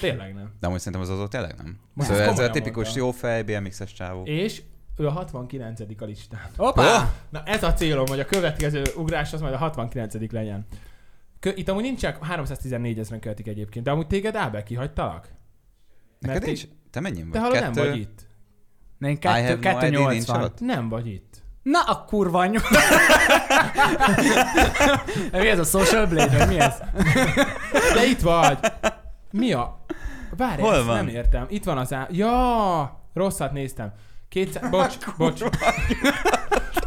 Tényleg nem.
De amúgy szerintem az azó tényleg nem.
Most
szóval
ezt
ez a
komolyan
tipikus
mondtam.
jó fej, BMX-es csávó.
És ő a 69 a listán.
Hoppá!
Na ez a célom, hogy a következő ugrás az majd a 69 legyen. Kö, itt amúgy nincs csak 314 ezeren követik egyébként, de amúgy téged Ábel kihagytalak?
Neked
Mert
nincs? Te mennyi vagy?
Te hallod, nem vagy itt.
Na, Én
I have
kettő-
no idea, nincs
280.
alatt.
Nem vagy itt.
Na a kurva anyú. mi ez a social blade, vagy mi ez?
De itt vagy! Mi a... Várj,
Hol
ezt
van?
nem értem. Itt van az á... Ja! Rosszat néztem. 200... Bocs, bocs.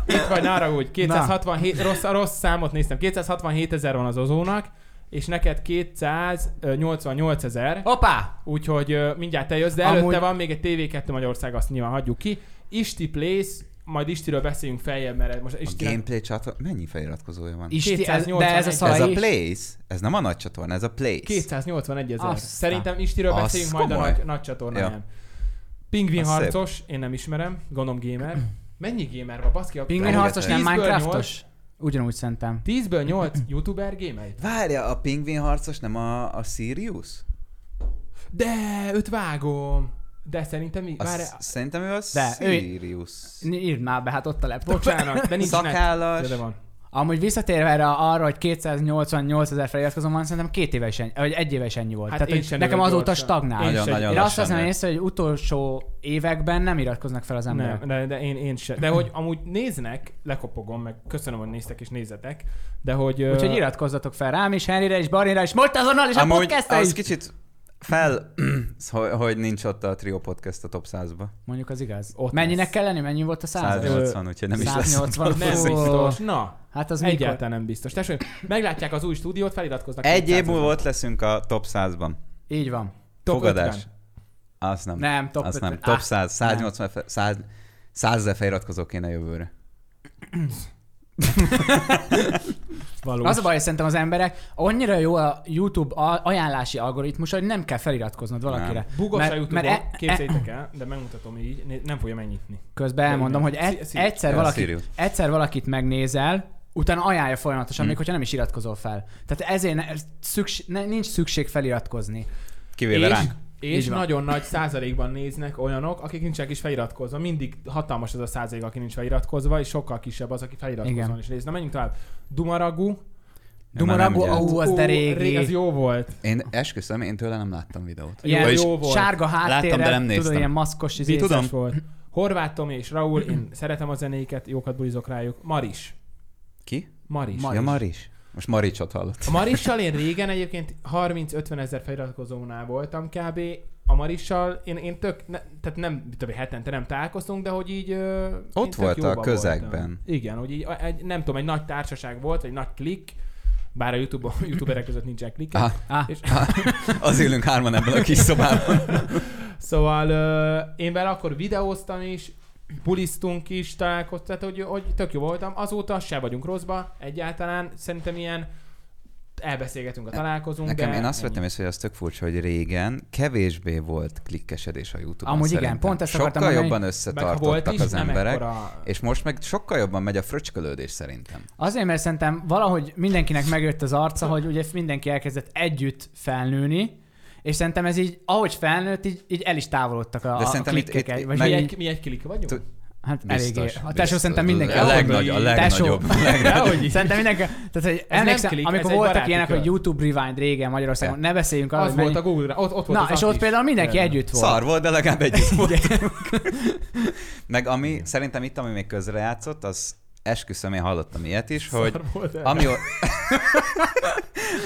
Itt vagy, nára úgy. 267... Rossz, rossz számot néztem. 267 ezer van az ozónak, és neked 288 ezer.
Hoppá!
Úgyhogy ö, mindjárt te jössz, de
Amúgy-
előtte van még egy TV2 Magyarország, azt nyilván hagyjuk ki. Isti Place, majd Istiről beszéljünk feljebb, mert most
A
Isti...
gameplay csatorna, mennyi feliratkozója van?
Isti, ez, de ez a
281.
Ez
szalai
a
is-
Place? Ez nem a nagy csatorna, ez a Place.
281 ezer.
Aztán.
Szerintem Istiről
Az
beszéljünk majd a
komoly.
nagy, nagy csatornáján.
Ja.
Pingvin
Az
harcos, én nem ismerem, gondolom gamer. Mennyi gamer van, baszki? A
Pingvin
Rengeteg.
harcos, nem
10-ből
Minecraftos? Ugyanúgy szerintem.
8 10-ből 8 youtuber gamer.
Várja, a pingvin harcos nem a, a Sirius?
De, őt vágom. De szerintem mi?
A
Várj,
sz- szerintem ő a
De, ő-
Sirius.
Írd már be, hát ott a laptop.
bocsánat, de nincs net.
Szakállas.
Ja, De van. Hát
Amúgy visszatérve erre, arra, hogy 288 ezer feliratkozom van, szerintem két éve is ennyi, vagy egy éve is ennyi volt.
Hát
Tehát,
én
hogy
sem
nekem
növök
azóta
gyorsan.
stagnál.
Én
Én,
Nagyon,
se-
nagyon
én azt veszem
lassan.
észre, hogy utolsó években nem iratkoznak fel az emberek.
Nem, de, de én, én se. De hogy amúgy néznek, lekopogom, meg köszönöm, hogy néztek és nézzetek, de hogy... ö,
Úgyhogy iratkozzatok fel rám is, Henryre is, Barnira is, most azonnal is a
Amúgy
podcastra
az
is.
kicsit fel, hogy- hogy nincs ott a Trio Podcast a top 100-ba.
Mondjuk az igaz.
Ott
Mennyinek
lesz.
kell lenni? Mennyi volt a század?
180, úgyhogy nem is lesz.
180.
Nem
Fú.
biztos. Na,
Hát az
az
mikor?
egyáltalán nem biztos. Tessék, meglátják az új stúdiót, feliratkoznak.
Egy év
200
múlva ott leszünk a top 100-ban.
Így van.
Top
Fogadás.
50.
Azt nem.
Nem, top
Azt nem.
50.
Top
Ah,
100, 180, fe- 100, 100 ezer feliratkozó kéne jövőre.
Valós.
Az a baj, hogy szerintem az emberek annyira jó a YouTube a- ajánlási algoritmus, hogy nem kell feliratkoznod valakire.
Bugos
Mert-
a youtube
mert
e,
e-
képzeljétek el, de megmutatom így, né- nem fogja megnyitni.
Közben elmondom, hogy
Igen.
e-
Szí-
egyszer,
Ja,
valaki,
Sirius.
egyszer valakit megnézel, utána ajánlja folyamatosan, még hogyha nem is iratkozol fel. Tehát ezért ne, szükség, ne, nincs szükség feliratkozni.
Kivéve
és,
ránk.
És
Így van.
nagyon nagy százalékban néznek olyanok, akik nincsenek is feliratkozva. Mindig hatalmas az a százalék, aki nincs feliratkozva, és sokkal kisebb az, aki feliratkozva
Igen.
is néz. Na menjünk tovább. Dumaragú.
Dumaragú,
nem
ahú, az de régi.
Az jó volt.
Én esküszöm, én tőle nem láttam videót.
Ilyen
Vagyis-
jó volt. sárga háttérrel,
Láttam, de nem
tudod,
néztem.
ilyen maszkos izé.
Mi tudom?
Vicces Volt. Horváth Tomi és Raúl, én szeretem a zenéket, jókat bulizok rájuk. Maris.
Ki?
Maris.
Maris.
Ja, Maris. Most Maricsot hallott.
A Marissal én régen egyébként 30-50 ezer feliratkozónál voltam kb. A Marissal én, én tök, ne, tehát nem, többi hetente nem találkoztunk, de hogy így... Ö, én
Ott
tök
volt a
jóba
közegben.
Voltam. Igen, hogy így, a- egy, nem tudom, egy nagy társaság volt, vagy egy nagy klik, bár a YouTube, youtuberek között nincsen klik.
Ah,
Ah,
És,
az ülünk hárman ebben a kis szobában.
szóval ö, én vele akkor videóztam is, bulisztunk is, találkoztam, tehát hogy, hogy tök jó voltam. Azóta se vagyunk rosszba egyáltalán, szerintem ilyen elbeszélgetünk, a találkozunk.
Nekem
de
én azt
ennyi.
vettem észre, hogy az tök furcsa, hogy régen kevésbé volt klikkesedés a YouTube-on.
Amúgy igen,
szerintem.
pont ezt akartam
Sokkal
mondani.
jobban
Meg ha
összetartottak az
nem
emberek,
ekkora-
és most meg sokkal jobban megy a fröcskölődés szerintem.
Azért, mert szerintem valahogy mindenkinek megjött az arca, hogy ugye mindenki elkezdett együtt felnőni, és szerintem ez így, ahogy felnőtt, így, így el is távolodtak a,
De
a
szerintem itt-
klikkek.
itt-
egy- vagy
meg-
Mi
így-
egy, mi egy klik vagyunk?
Tud-
Hát
Biztos,
eléggé. A
biztos.
tesó szerintem mindenki.
A legnagy- a
Tesó.
legnagyobb, a legnagyobb.
Dehogy is. Szerintem mindenki. Tehát, hogy
nem
emlékszem,
klik, ez
amikor
egy
voltak
baráti
ilyenek,
kör.
hogy YouTube Rewind régen Magyarországon, ne beszéljünk arról,
Az
hogy
volt a
mennyi-
Google-ra, ott, ott volt
Na,
az
és
app
ott
is.
például mindenki
Igen.
együtt volt.
Szar volt, de legalább együtt voltunk. Meg ami, szerintem itt, ami még közrejátszott, az esküszöm, én hallottam ilyet is, hogy
Szar volt el.
Amió...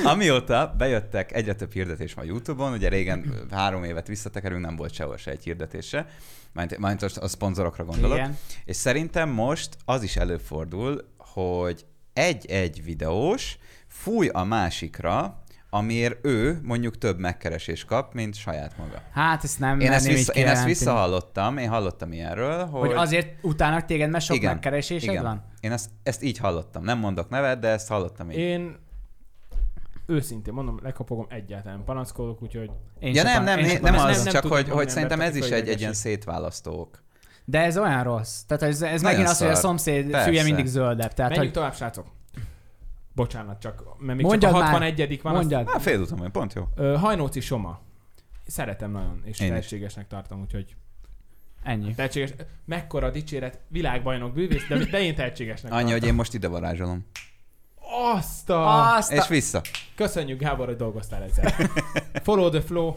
Amióta bejöttek egyre több hirdetés van YouTube-on, ugye régen három évet visszatekerünk, nem volt sehol se egy hirdetése, majd, majd most a szponzorokra gondolok.
Igen.
És szerintem most az is előfordul, hogy egy-egy videós fúj a másikra, amiért ő mondjuk több megkeresés kap, mint saját maga.
Hát ezt nem
Én ezt,
merném így
vissza, én ezt
kijelenteni.
visszahallottam, én hallottam ilyenről, hogy...
Hogy azért utálnak téged, mert sok megkeresésed
igen.
van?
Én ezt, ezt így hallottam. Nem mondok nevet, de ezt hallottam így.
Én őszintén mondom, lekapogom egyáltalán panaszkodok, úgyhogy
Én
ja
se
nem,
pan-
nem,
én se
nem,
pan-
nem az,
nem-
nem,
nem
csak
tudom
hogy, hogy
mondani,
szerintem
mert
ez is
tök
egy, egy ilyen
idegesít.
szétválasztó ok.
De ez olyan rossz. Tehát ez, ez
Nagyon
megint az, hogy a
szar.
szomszéd
Persze.
fülje mindig zöldebb. Tehát,
menjünk
hogy
tovább, srácok. Bocsánat, csak, mert még
Mondjad
csak a
már.
61 van. azt-
mondjad.
Hát félúton vagy, pont jó.
Ö, Hajnóci Soma. Szeretem nagyon, és
Én is.
tehetségesnek tartom, úgyhogy
Ennyi.
tehetséges. Mekkora dicséret, világbajnok bűvész, de, de én tehetségesnek
Annyi,
tartom.
hogy én most ide varázsolom.
Azt a...
Azt a...
És vissza.
Köszönjük, Gábor, hogy dolgoztál ezzel. Follow the flow.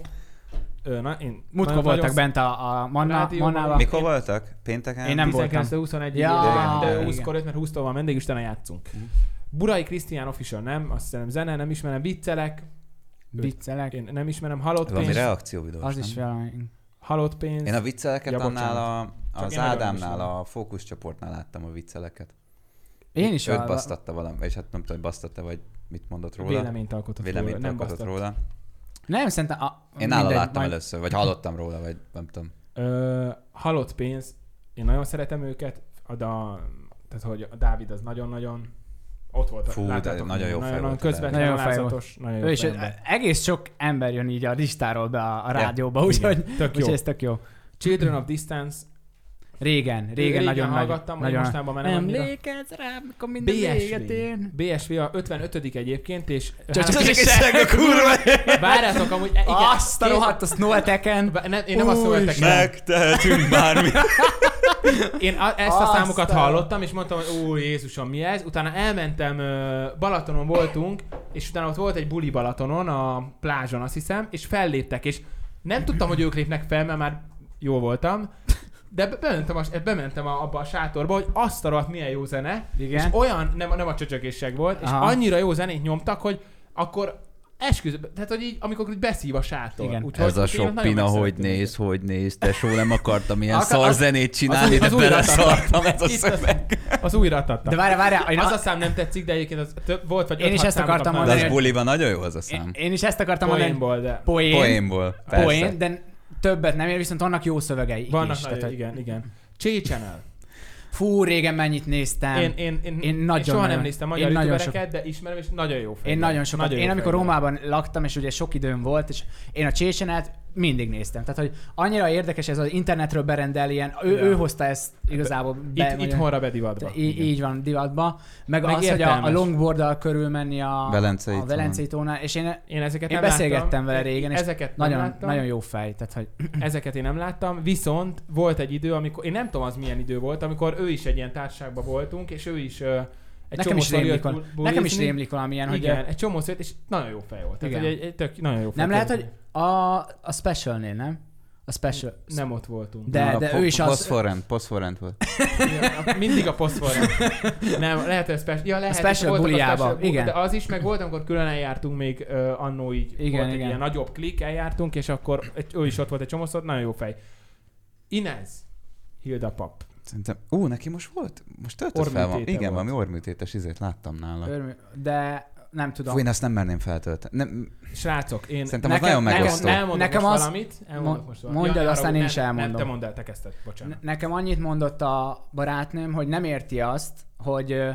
Ö, na, én
Múltkor
nagyon-
voltak
nagyon
bent a, a Manna,
Rádióban
Mannával.
van.
Mikor voltak? Pénteken?
Én nem voltam.
19-21
Ja,
ja, de
igen.
20-kor 5, mert 20-tól van vendég, és utána játszunk.
Mhm.
Burai Krisztián official nem, azt hiszem zene, nem ismerem, viccelek,
Viccelek.
én nem ismerem, halott
Valami
pénz,
reakció videós,
Az
nem?
is valami.
halott pénz.
Én a vicceleket
Ja,
annál a,
Csak
az
én nagyon
Ádámnál,
ismerem.
a fókuszcsoportnál láttam a vicceleket.
Én is
Őt
arra-
basztatta valami, és hát nem tudom, hogy basztatta, vagy mit mondott róla.
Véleményt alkotott
Véleményt
róla, nem
alkotott
basztott.
róla.
Nem, szerintem... A...
Én nála
mindegy,
láttam
majd-
először, vagy hallottam róla, vagy nem tudom.
Ö, halott pénz, én nagyon szeretem őket, a da, tehát hogy a Dávid az nagyon-nagyon ott volt.
Fú, de
láttátok,
nagyon jó fej
nagyon,
volt a
közvetlenül
Dávid. Nagyon fej
alázatos, nagyon jó
Ő is,
fej ember.
egész sok ember jön így a listáról be a, a
Ja.
rádióba,
Igen.
úgyhogy
Tök jó.
úgyhogy ez tök jó.
Children of Distance,
Régen, régen,
Régen
nagyon nagy-
hallgattam,
nagyon nagy-
mostanában már nem annyira.
Emlékezz rá, mikor minden véget
BSV.
ér.
BSV a 55 egyébként, és
Csak- csak-
egy szeg a kurva!
várjátok amúgy, e, igen,
Azt a rohadt, a Snowteken.
Bá- ne, én nem azt
Új,
szóltak el.
Megtehetünk bármit.
Én a, ezt a
Aztán.
számokat hallottam, és mondtam, hogy ó Jézusom, mi ez? Utána elmentem, ö, Balatonon voltunk, és utána ott volt egy buli Balatonon, a plázson azt hiszem, és felléptek, és nem tudtam, hogy ők lépnek fel, mert már jó voltam, de be- bementem, a, bementem a, abba a sátorba, hogy azt a rohadt, milyen jó zene,
Igen.
és olyan, nem, nem a csöcsögésség volt, és
Aha.
annyira jó zenét nyomtak, hogy akkor esküszöm, tehát hogy így, amikor így beszív a sátor.
Igen.
Úgyhogy
Ez a
én Hát, nagyon
sok pina, hogy
megszerettem őket.
néz, hogy néz, tesó, nem akartam ilyen
Akar-
szar
az-
zenét csinálni,
az- az
de
újra
beleszartam ez a
Itt az-
szöveg.
Az újra adtatta.
De várj, várj, én,
az a
a,
szám nem tetszik, de egyébként az több, volt vagy
Én
öt,
is
hat
ezt
számot
akartam
kaptam.
De
mondani,
az buliban nagyon jó az a
én,
szám.
én is ezt akartam mondani.
Poénból, de...
Poén.
Poénból, persze.
Poén, de többet nem ér, viszont vannak jó szövegei
Vannak
is.
nagy,
hogy-
igen, igen. Csécsenel.
Fú, régen mennyit néztem.
Én, én, én,
Én nagyon
soha
nagyon-
nem néztem magyar
én nagyon
youtubereket, de ismerem, és nagyon jó fejlő.
Én nagyon sokat. Nagyon én amikor
fejlő.
Rómában laktam, és ugye sok időm volt, és én a Csésenát mindig néztem. Tehát, hogy annyira érdekes ez az internetről berendel ilyen, ő,
Ja.
ő hozta ezt igazából be.
Itt,
nagyon-
itthonra bedivatba.
Í- így van divatba. Meg,
Meg
az, hogy a, a
értelmes.
longboarddal körülmenni a
Velencei
a
tónál.
Velencei tónál, és én,
Én ezeket
én
nem
beszélgettem
láttam.
vele
Én-
régen, és
ezeket nem
nagyon,
láttam.
nagyon jó fej. Tehát, hogy
Ezeket én nem láttam, viszont volt egy idő, amikor, én nem tudom az milyen idő volt, amikor ő is egy ilyen társaságban voltunk, és ő is ö, egy
nekem is,
csomószor
rémlik,
jött
val-
bul-
nekem is
bulizni.
rémlik valamilyen, hogy
Igen, egy csomószor jött, és nagyon jó fej volt. Tehát
Igen.
egy, egy, egy tök, nagyon jó fej.
nem lehet,
Tényleg.
hogy a, a specialnél, nem? A special.
Nem ott voltunk.
De-
Na,
de
po-
ő is az-
Poszforrend, poszforrend volt.
Ja, Mindig a poszforra. Nem, lehet, hogy a special. Ja, lehet,
A special
voltak
buliába,
bu-
igen.
De az is, meg volt, amikor külön eljártunk még uh, annó így.
Igen,
volt Egy
igen.
ilyen nagyobb klik, eljártunk, és akkor egy, ő is ott volt egy csomószor, nagyon jó fej. Inez. Hilda pap.
Szerintem, ú, neki most volt? Most töltött fel van.
Orműtéte
Igen,
volt.
valami orműtétes izét láttam nála.
Öröm- De nem
Fú,
tudom.
én azt nem merném feltölteni. Nem,
Srácok, én
szerintem az
nekem-
nagyon
nekem-
megosztó.
nem-
elmondok
nekem
most
az-
valamit. Elmondok
mo-
most valamit.
mondd el,
ne
aztán én
haragudj,
is
nem-
elmondom.
Nem, te mondd el, te kezdted,
Ne-
bocsánat.
Nekem annyit mondott a barátnőm, hogy nem érti azt, hogy ö,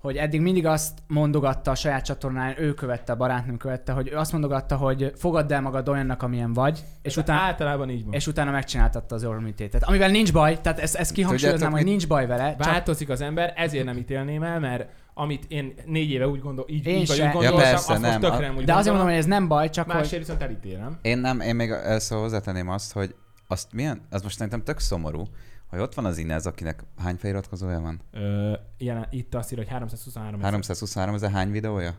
hogy eddig mindig azt mondogatta a saját csatornán, ő követte, a barátnőm követte, hogy ő azt mondogatta, hogy fogadd el magad olyannak, amilyen vagy, és,
Ez
utána,
Általában így van.
és utána megcsináltatta az orromítétet. Amivel nincs baj, tehát ezt, ezt kihangsúlyoznám,
Tudjátok,
hogy nincs baj vele. Csak,
Változik az ember, ezért nem ítélném el, mert amit én négy éve úgy gondolom, így,
Én
így vagy
se.
úgy
Ja,
gondoltam,
persze, nem.
azt most tökre nem úgy
de azért
gondolom.
mondom, hogy ez nem baj, csak
Másért
hogy...
viszont elítélem.
Én nem, én még először hozzátenném azt, hogy azt milyen, az most szerintem tök szomorú, hogy ott van az Inez, akinek hány feliratkozója van?
Ö, jelen, itt azt írja, hogy 323 ezer.
323 ezer hány videója?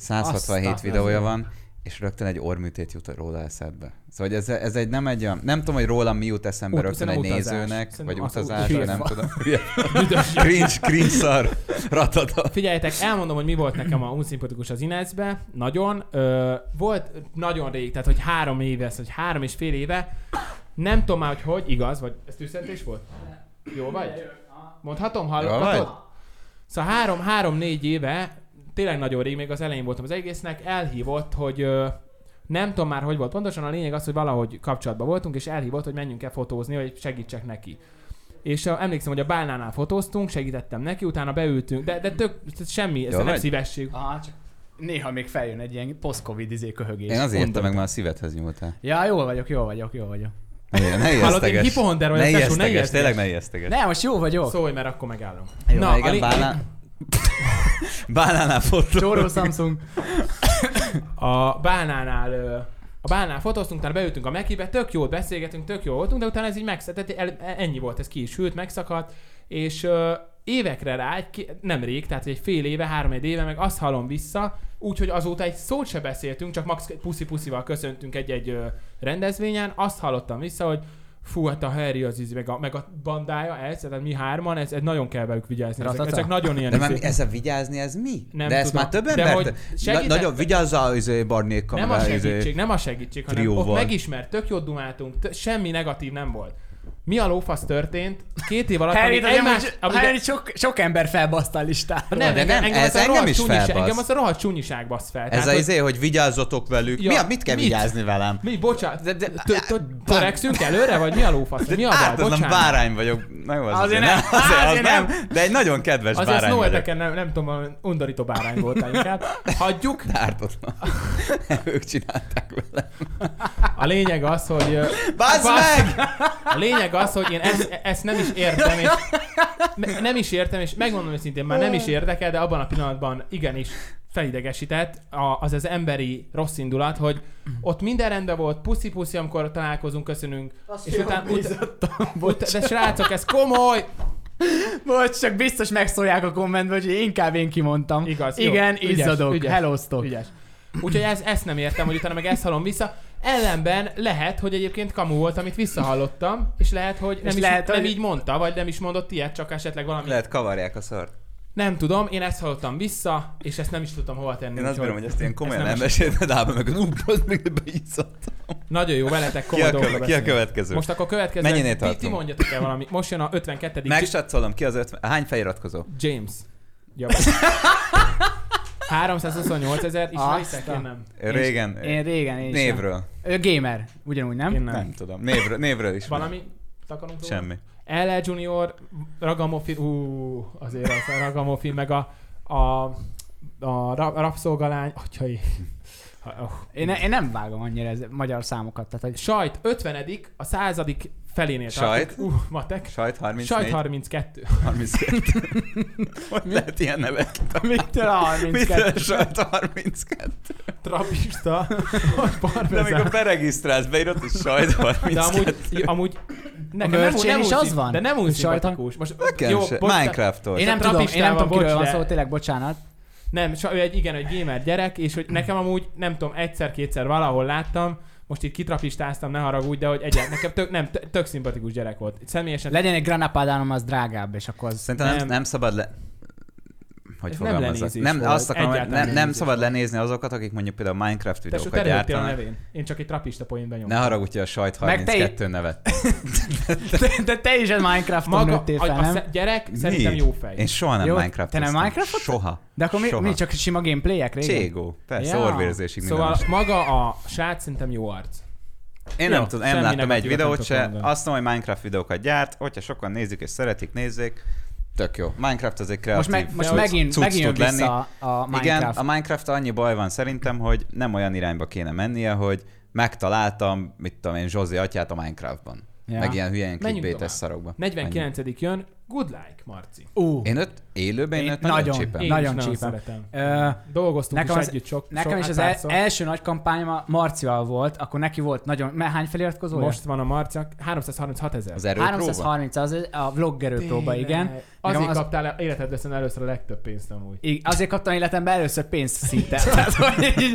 167
Azt a-
videója van, és rögtön egy orműtét jut róla eszedbe. Szóval hogy ez, ez egy nem egy olyan, nem tudom, hogy rólam mi jut eszembe
Út-
rögtön egy
szerintem utazás.
nézőnek,
Szerintem
vagy
az út-
utazás,
hülye
vagy nem
fa.
tudom. Hülye.
Büdös.
cringe, cringe szar, ratata.
Figyeljetek, elmondom, hogy mi volt nekem a unszimpatikus az Inezbe. Nagyon. Ö, volt nagyon rég, tehát hogy három éve, ez, hogy három és fél éve. Nem tudom már, hogy hogy, igaz, vagy ez tűzszentés volt? Jó vagy? Mondhatom,
Jól
hallgatod?
vagy?
Szóval három, három-négy éve, tényleg nagyon rég, még az elején voltam az egésznek, elhívott, hogy ö, nem tudom már, hogy volt pontosan, a lényeg az, hogy valahogy kapcsolatban voltunk, és elhívott, hogy menjünk el fotózni, hogy segítsek neki. És a, emlékszem, hogy a bálnánál fotóztunk, segítettem neki, utána beültünk, de, de tök, tehát semmi, ez
Jó
nem
vagy?
szívesség.
Aha, csak néha még feljön egy ilyen post-covid izé köhögés.
Én azért értem
Mondom.
meg, már a szívedhez nyúltál.
Ja, jó vagyok, jó vagyok, jó vagyok.
Ne, ilyen- ne
Hallod, én
ijeszteges.
hipohonder vagyok,
Ne
tesó, ne
ijeszteges,
ijesztges.
tényleg ne ijeszteges.
Ne, most jó vagyok.
Szólj, Szóval, mert akkor megállunk.
Jó, Na, igen,
lé-
bálnán... Bálnánál fotó.
Csóró Samsung.
a bánánál ö, a bánál fotóztunk, utána beültünk a mekibe, tök jól beszélgetünk, tök jó voltunk, de utána ez így megszakadt, el, e, ennyi volt, ez ki is hűlt, megszakadt, és ö, évekre rá, egy, ki- nemrég, tehát egy fél éve, három éve, meg azt hallom vissza, úgyhogy azóta egy szót se beszéltünk, csak max puszi-puszival köszöntünk egy-egy ö, rendezvényen, azt hallottam vissza, hogy fú, hát a Harry az íz, meg a, meg a bandája, ez, tehát mi hárman, ez, ez nagyon kell velük vigyázni. Ezek,
Ratata?
ezek nagyon ilyen izé-
De már
izék.
mi- ez a vigyázni, ez mi?
Nem
de ezt
tudom.
már több
De
ember...
hogy
Na-
segített-
Nagyon vigyázzál, izé, barnékkal.
Nem a segítség, nem a segítség, hanem
trióval.
ott megismert, tök jót dumáltunk, t- semmi negatív nem volt. Mi a lófasz történt? Két év alatt,
Harry,
ami
de
egymás...
amúgy,
ami-
Harry sok, sok ember felbaszta a listára.
Nem,
de
engem,
nem,
engem
ez
az a
engem
rohadt
is
csúnyiság-
felbasz.
Engem az a rohadt csúnyiság basz fel.
Ez
Tehát,
az
hogy
izé, hogy vigyázzatok velük.
Ja,
mi, a- mit kell
mit?
vigyázni velem?
Mi, bocsánat,
De- Hát, de-
tö- tö- törekszünk előre, vagy mi a lófasz? Mi a baj?
Ártatlan
Bocsánat.
bárány vagyok. Na jó, az
Azért nem,
azért, az
azért
nem.
nem.
De egy nagyon kedves
Azért
bárány vagyok.
Snoweteken nem, nem tudom, olyan undorító bárány voltál inkább. Hagyjuk.
Ártatlan. ők csinálták vele.
A lényeg az, hogy... ö,
Bazd
Bazd-
meg!
A lényeg az, hogy én ezt, ezt nem is értem, és ne- nem is értem, és megmondom őszintén, már nem is érdekel, de abban a pillanatban igenis felidegesített a- az az emberi rossz indulat, hogy ott minden rendben volt, puszi-puszi, amikor találkozunk, köszönünk,
Azt
és utána... Ut-
bocs.
ut- de srácok, ez komoly!
Bocs, csak biztos megszólják a kommentben, hogy inkább én kimondtam.
Igaz, jó.
Igen,
Ügyes,
izzadok,
ügyes.
heloztok.
Ügyes. Úgyhogy ez, ezt nem értem, hogy utána meg ezt hallom vissza. Ellenben lehet, hogy egyébként kamu volt, amit visszahallottam, és lehet, hogy nem,
És
is,
lehet,
nem
hogy-
így mondta, vagy nem is mondott ilyet, csak esetleg valami
Lehet kavarják a szart.
Nem tudom, én ezt hallottam vissza, és ezt nem is tudtam hova tenni.
Én azt
úgyhogy
bírom, hogy ezt ilyen komolyan
nem is-
elmesélted Ába, meg az ú, bazd meg, de beizzadt.
Nagyon jó veletek,
Ki a, köve,
komoly dolgokra
ki a
beszélünk.
következő? Most
Most akkor következő.
Mennyinél
ti, ti
tartunk?
mondjatok el valami. Most jön a 52. J-
Megsatszolom, ki az 50... Hány feliratkozó?
James. Ja, 328 ezer, és
Azt
hiszek,
a-
én nem.
Régen.
Én régen, én is.
Névről.
Ő gamer, ugyanúgy, nem?
Én
Nem.
nem.
tudom. Névről, névről is.
Valami takarunk róla?
Semmi.
LL Junior, Ragamuffin, ú, azért az a Ragamuffin, meg a, a, a ra- rabszolgalány, atyai. Ha- Oh.
Én, ne- én nem vágom annyira ez, magyar számokat, tehát hogy
Sajt 50 a századik felénél
Sajt?
tartunk. Uh, matek.
Sajt 34.
Sajt 32.
32. Hogy lehet ilyen nevet?
mitől a
Mitől
32?
sajt 32?
Trapista, vagy
De amikor
parmezán.
beregisztrálsz, beírod, hogy sajt
De
32.
amúgy, amúgy nekem nem, úgy-
merch-en
nem
is
úgy
az
szim-
van?
De nem úgy
Sajta?
szimpatikus. Most,
Nekem se.
bocs, de-
Minecraft-ol.
Én
Te
nem tudom, én nem
trapistával
tudom, kiről
bocs,
van
de-
szó, tényleg, bocsánat.
Nem, sa- ő egy, igen, egy gamer gyerek, és hogy nekem amúgy, nem tudom, egyszer-kétszer valahol láttam, most itt kitrapistáztam, ne haragudj, de hogy egyet, nekem tök, nem, tök, tök szimpatikus gyerek volt. Személyesen
Legyen egy granapadánom, az drágább, és akkor az...
Szerintem nem,
Nem.
nem szabad le... Hogy
Ez nem
fogalmazzak?
lenézés
Nem,
volt,
azt akarom, hogy
egyáltalán
nem, nem
lenézés
szabad lenézni azokat, akik mondjuk például Minecraft
Te sok
videókat
terültél a
gyártanak.
nevén. Én csak egy trapista poénben
Ne
nyomtam.
haragudj a sajt
Meg te
32 nevet.
De, de te is egy Minecraft-on
Maga,
nőttél fel,
a, a
nem?
sze- gyerek szerintem jó fej.
Én soha nem
Jó,
Minecraft
te nem Minecraftot?
Soha.
De akkor mi,
Soha.
mi csak sima gameplayek régen?
Cségó. Persze,
Ja.
ja. orvérzésig minden
Szóval
is.
maga a srác szerintem jó arc.
Én
Jó,
nem tudom, nem
semmi
láttam egy
negatívat nem
videót
tudok
se.
mondani.
Azt mondom, hogy Minecraft videókat gyárt, hogyha sokan nézik és szeretik, nézzék. Tök jó. Minecraft az egy
Most,
kreatív
meg, most
hogy
megint,
cucc
megint jön
tud lenni.
vissza a, a Minecraft.
Igen, a Minecraft annyi baj van szerintem, hogy nem olyan irányba kéne mennie, hogy megtaláltam, mit tudom én, Zsozi atyát a Minecraftban.
Ja.
Ja. Meg ilyen hülye ilyen
Menjünk
clickbaites
tovább.
szarokba.
49. jön, good like, Marci.
Ú,
Ennyi. Én öt élőben én
Én
öt nagyon,
nagyon.
csipem.
Én
Nagyon
is nagyon
csípem.
szeretem.
Ö,
Dolgoztunk
nekem
is
az-
együtt sok,
Nekem
sok
is az
hát
el,
párszor.
első nagy kampányom a Marcival volt, akkor neki volt nagyon... Mert hány feliratkozója?
Most van a Marciak, 336 ezer.
Az e- erőpróba?
330 az a vlog erőpróba, igen.
Azért
az-
az... kaptál el- életedre szerintem először a legtöbb pénzt amúgy.
I- Azért kaptam életemben először pénzt szinte. Tehát, hogy így,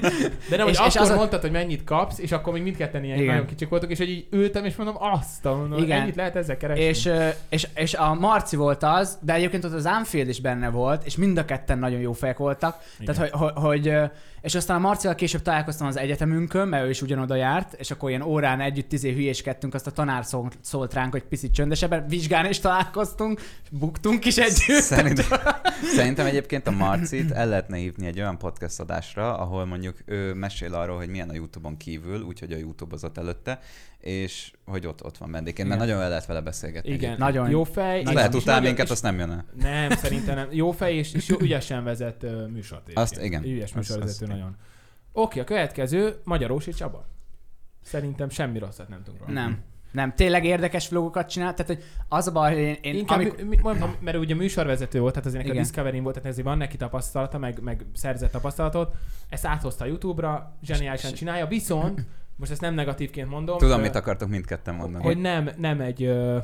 De nem,
És-
és,
és
hogy és akkor
az a-
az mondtad, hogy mennyit kapsz, és akkor még mindketten ilyen
Igen.
Igen. nagyon kicsik voltak, és hogy így ültem, és mondom, azt, mondom,
Igen.
Igen. ennyit lehet ezzel keresni.
és, ö, és, és a Marci volt az, de egyébként ott az Anfield is benne volt, és mind a ketten nagyon jó fejek voltak. Igen.
Igen.
Tehát, hogy, hogy, hogy, ö, és aztán a Marcival később találkoztam az egyetemünkön, mert ő is ugyanoda járt, és akkor ilyen órán együtt izé hülyéskedtünk, azt a tanár szólt, szólt ránk, hogy picit csöndesebben, vizsgán is találkoztunk, buktunk is együtt.
Szerintem, szerintem egyébként a Marcit el lehetne hívni egy olyan podcast adásra, ahol mondjuk ő mesél arról, hogy milyen a YouTube-on kívül, úgyhogy a YouTube az ott előtte, és hogy ott, ott van vendégként, mert
Igen.
nagyon el lehet vele beszélgetni.
Igen,
egyébként.
Nagyon-
nagyon jó fej. és-
Az Lehet
és
utálni
nagyon-
minket,
és-
azt nem jön el.
Nem, szerintem nem. Jó fej és, és jó, ügyesen vezet uh, műsort.
Azt
egyébként.
igen.
Ügyes
Az-
műsorvezető
az-
nagyon. Oké, a következő Magyarósi Csaba. Szerintem semmi rosszat nem tudunk róla.
Nem. Nem, tényleg érdekes vlogokat csinál, tehát hogy az a baj, hogy én, én
Inkább,
amikor,
amikor... mi, mondom, mert ugye műsorvezető volt, tehát azért nekem
Igen.
a discovery volt, tehát ezért van neki tapasztalata, meg, meg szerzett tapasztalatot. Ezt áthozta a YouTube-ra, zseniálisan csinálja, viszont, most ezt nem negatívként mondom.
Tudom,
ö,
mit akartok mindketten mondani.
Hogy nem, nem egy... ö,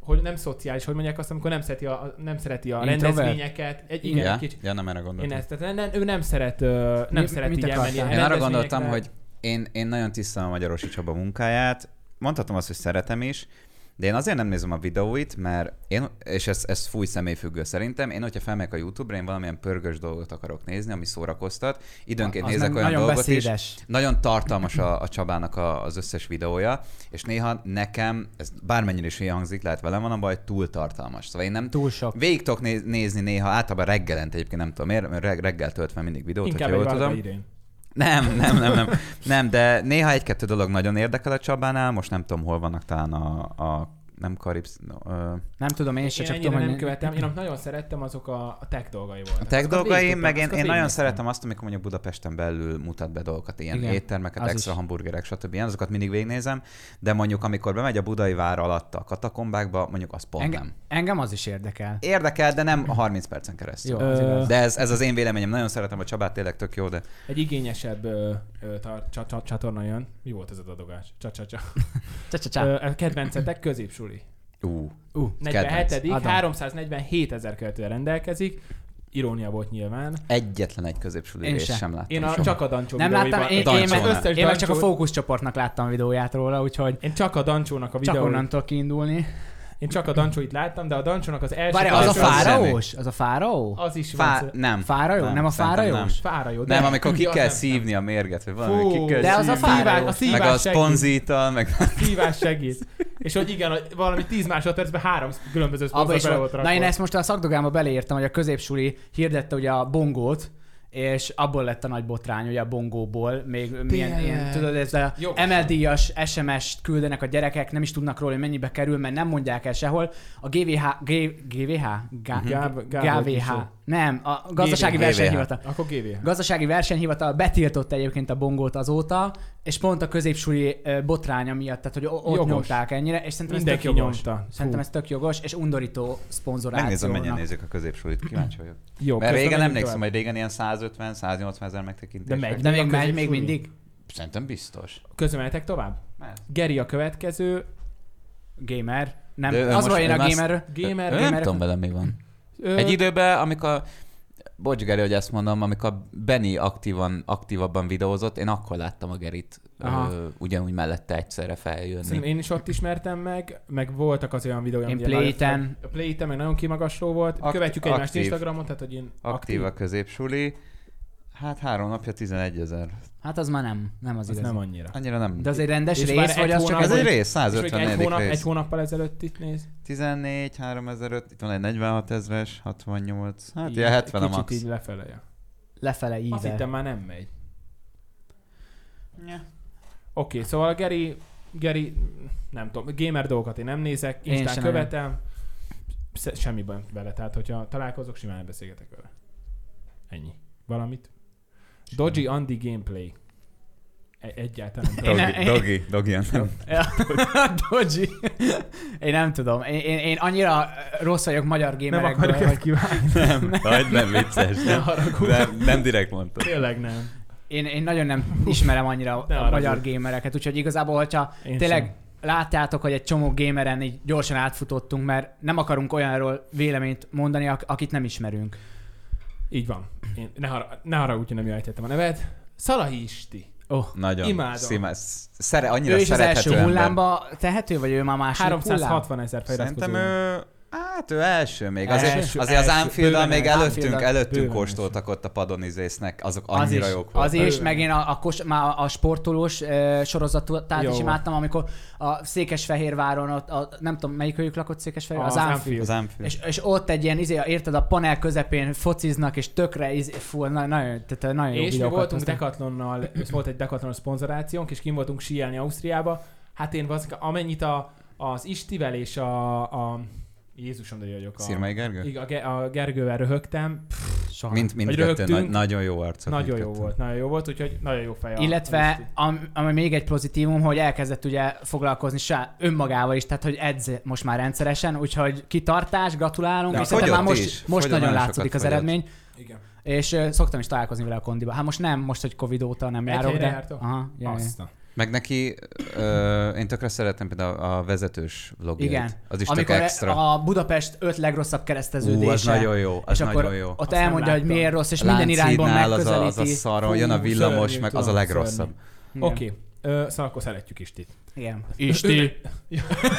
hogy nem szociális, hogy mondják azt, amikor nem szereti a, nem szereti a
Introvert?
rendezvényeket. Egy, igen,
ja?
egy kicsit.
ja, nem erre
Én
gondoltam.
ezt, tehát nem, ő nem szeret, ö, nem
Mi-
szeret
mit
így elmenni.
akartál?
Én arra
rendezvényekre.
gondoltam, hogy én, én nagyon tisztelem a Magyarosi Csaba munkáját. Mondhatom azt, hogy szeretem is, de én azért nem nézem a videóit, mert én, és ez, ez fúj személyfüggő szerintem, én, hogyha felmegyek a YouTube-ra, én valamilyen pörgős dolgot akarok nézni, ami szórakoztat. Időnként
az
nézek
meg
olyan
nagyon
dolgot is,
beszédes.
nagyon tartalmas a, a Csabának a, az összes videója, és néha nekem, ez bármennyire is hülye hangzik, lehet velem van a baj, túl tartalmas. Szóval én nem
Túl sok.
Végig tudok néz- nézni néha, általában reggelente egyébként nem tudom miért, mert reg- reggel töltve mindig videót,
Inkább
hogyha
egy
jól
tudom.
tudom.
idén.
Nem, nem, nem, nem. Nem, de néha egy-kettő dolog nagyon érdekel a Csabánál, most nem tudom, hol vannak talán a, a nem Karibs, no, ö,
Nem tudom, én se
Én
csak
ennyire
tudom,
nem
hogy-
követem, én amit nagyon szerettem, azok a, Hát a tech dolgai voltak.
A tech
Azokat végig
dolgai,
tudtam,
meg én,
azokat
én nagyon
végignéztem.
szeretem azt, amikor mondjuk Budapesten belül mutat be dolgokat, ilyen
Igen,
Igen, éttermeket,
az
extra
is.
hamburgerek, stb. Ilyen, azokat mindig végignézem, de mondjuk amikor bemegy a budai vár alatt a katakombákba, mondjuk az pont
Engem,
nem.
engem az is érdekel.
Érdekel, de nem a 30 percen keresztül.
Jó,
Jó.
az
Ö,
igaz.
De ez, ez az én véleményem. Nagyon szeretem a Csabát, tényleg tök jó, de
Egy igényesebb ö, ö, tar- csa- csa- csatorna jön. Mi volt ez a dadogás? Csa-csa-csa.
Csa-csa-csa.
Ö, a Kedvencetek középsuli.
ú,
Ú,
47.
Adom.
347 ezer követővel rendelkezik. Irónia volt nyilván.
egyetlen egy középsuli
Én
részt
se.
sem. sem láttam.
Én a,
soha.
csak a Dancsó
Nem
videóiba-
láttam, én,
Dancsó.
én, meg,
Az
összes
én meg csak a
Dancsó-
fókuszcsoportnak láttam a videóját róla, úgyhogy
Én csak a Dancsónak a
csak
videó.
onnan tudok kiindulni.
Én csak a Dancsóit láttam, de a Dancsónak az első...
Várj,
Várjál,
az a
Dancsó az
fáraós? Az a fáraó?
Az is
Fá,
van.
nem.
Fárajó? Nem a
szerintem
fárajós?
Fára jó.
Nem, nem amikor ki
Ja,
kell
nem,
szívni a mérget, vagy
nem.
valami ki kell
de az a
szívni.
fáraó.
szívás- a szívás
Meg a
segít.
szponzítal, meg
Szívás segít. És hogy igen, hogy valami 10 másodpercben három különböző
Abba
szponzor
is
bele
volt.
volt
Na én
rakva.
ezt most a szakdogámba beleírtam, hogy a középsuli hirdette ugye a bongót, és abból lett a nagy botrány, ugye a bongóból, még milyen,
Tényleg.
ilyen, tudod, ez a
Jogos.
MLD-as SMS-t küldenek a gyerekek, nem is tudnak róla, hogy mennyibe kerül, mert nem mondják el sehol. A GVH, G, GVH, G,
Mhm.
Gáb- Gábor
GVH,
Gyurcsó.
nem, a gazdasági
GVH.
versenyhivatal.
Akkor GVH.
Gazdasági versenyhivatal betiltott egyébként a bongót azóta, és pont a középsúlyi ö, botránya miatt, tehát hogy o- ott
Jogos.
nyomták ennyire, és szerintem
Mindenki
ez tök jogos.
nyomta. Fú.
Szerintem ez tök jogos, és undorító
Megnézem, mennyien
szponzorációnak.
nézik a középsulit, kíváncsi vagyok.
Jó,
Mert
közben
régen
menjünk
emlékszem,
tovább.
hogy régen ilyen 150-180 ezer megtekintés.
De megy.
De
A
még megy, még
középsúlyi?
mindig?
Szerintem biztos.
Közben mehetek tovább?
Mert.
Geri a következő,
Gamer. Nem,
De ő
az
most-
van én a
ő már-
gamerről.
gamer,
Ö, nem
gamer.
tudom vele mi van.
Ö,
Egy időben, amikor... Bocs, Geri, hogy ezt mondom, amikor Benny aktívan, aktívabban videózott, én akkor láttam a Gerit
Aha.
ö, ugyanúgy mellette egyszerre feljönni.
Szerintem én is ott ismertem meg, meg voltak az olyan videói,
Én
ami
Playten.
nagyon- A Playten meg nagyon kimagasló volt.
Akt-
Követjük egymást
aktív.
Instagramon, tehát hogy én
Aktív a középsuli. Hát három napja 11 ezer.
Hát az már nem, nem az
az
igaz.
nem annyira.
Annyira nem.
De az egy rendes
És már
rész,
egy
vagy az csak
hónap-
Ez
az
egy
rész?
rész,
És még egy,
154.
hónap,
rész.
egy hónappal ezelőtt itt néz.
14, 3005, itt van egy 46 ezres, 68, hát
Így
ilyen 70 a
kicsit
max.
így lefele. Ja.
lefele
Azt hittem
ível.
már nem megy. Oké, okay, szóval Geri, Geri, nem tudom, gamer dolgokat én nem nézek,
Én
Instán
sem
követem, se- semmi baj vele, tehát hogyha találkozok, simán beszélgetek vele. Ennyi. Valamit. Dodgy Andy gameplay. E- egyáltalán nem tudom.
Én-
Dogi, dogi, dogi, nem.
Dodgy. Én nem tudom. Én, én, én annyira rossz vagyok magyar
Nem
gamerekből,
akarjuk
hogy
ezt kívánni.
Nem, hagyd, nem vicces.
Ne
Nem,
haragudj.
nem, nem direkt mondtam.
Tényleg nem.
Én, én nagyon nem ismerem annyira
Ne
a
arra
magyar
vagy.
gamereket, úgyhogy igazából, hogyha
Én
tényleg
sem.
látjátok, hogy egy csomó gameren így gyorsan átfutottunk, mert nem akarunk olyanról véleményt mondani, ak- akit nem ismerünk.
Így van. Én, ne, har- ne haragudj, hogy nem jól ejtettem a nevet. Szalahisti.
Oh.
Nagyon.
Imádom.
Szimá, sz- szere, annyira
Ő is az
szerethető
első
ember.
hullámba tehető, vagy ő már második hullám?
360 ezer feliratkozó.
Szerintem ő... Hát ő első még. Azért,
Első,
azért az
első.
Anfield-al
Bőven
még
első.
előttünk,
Anfield-al
előttünk
bőven
kóstoltak ott a padon izésznek. Azok
Az is,
annyira jók
az
voltak.
is,
Bőven.
meg én a, a, kos, már a sportolós e, sorozatát
Jó.
is imádtam, amikor a Székesfehérváron, ott, a, nem tudom, melyik őjük lakott Székesfehérváron, az, az Anfield.
Az Anfield.
És, és ott egy ilyen, izé, érted, a panel közepén fociznak, és tökre, izé, fú, na, nagyon, tehát nagyon jó
És mi
videókat
voltunk
hoztak.
Decathlonnal, és volt egy Decathlon szponzorációnk, és kim voltunk síelni Ausztriába. Hát én bazzik, amennyit a, az Istivel és a, a Jézusom, de vagyok. A,
Szirmai Gergő?
Igen, a, Ge- a Gergővel röhögtem. Pff,
Soha.
Mind, mind
Vagy
kettő,
röhögtünk.
nagy, nagyon jó arcok.
nagyon jó
mindketten.
volt, nagyon jó volt, úgyhogy nagyon jó fej. a- az Isti.
Illetve, am- ami még egy pozitívum, hogy elkezdett ugye foglalkozni saját önmagával is, tehát hogy edz most már rendszeresen, úgyhogy kitartás, gratulálunk,
De
és szerintem már
fogyott
most, most
is, fogyott,
nagyon
nagyon
látszódik az
sokat fogyott.
eredmény,
Igen.
és ö, szoktam is találkozni vele a kondiba. Hát most nem, most, hogy Covid óta nem
Egy
járok,
helyre
de...
jártok?
Aha, jaj, jaj.
Azt.
Meg neki, ö, én tökre szeretem például a vezetős vlogjait.
Igen.
Az is
Amikor
tök extra.
a Budapest öt legrosszabb kereszteződése,
Ú, az nagyon jó, az
és
nagyon
akkor
jó.
ott
Azt nem
elmondja, hogy
láttam.
miért rossz, és minden irányból
Lánchídnál az a,
megközelíti.
az a szaron, jön a
Fú,
villamos,
szörnyű,
meg az
tudom,
a legrosszabb.
szörnyű.
Igen.
Oké, Ö, szóval akkor szeretjük Istit.
Igen.
Isti.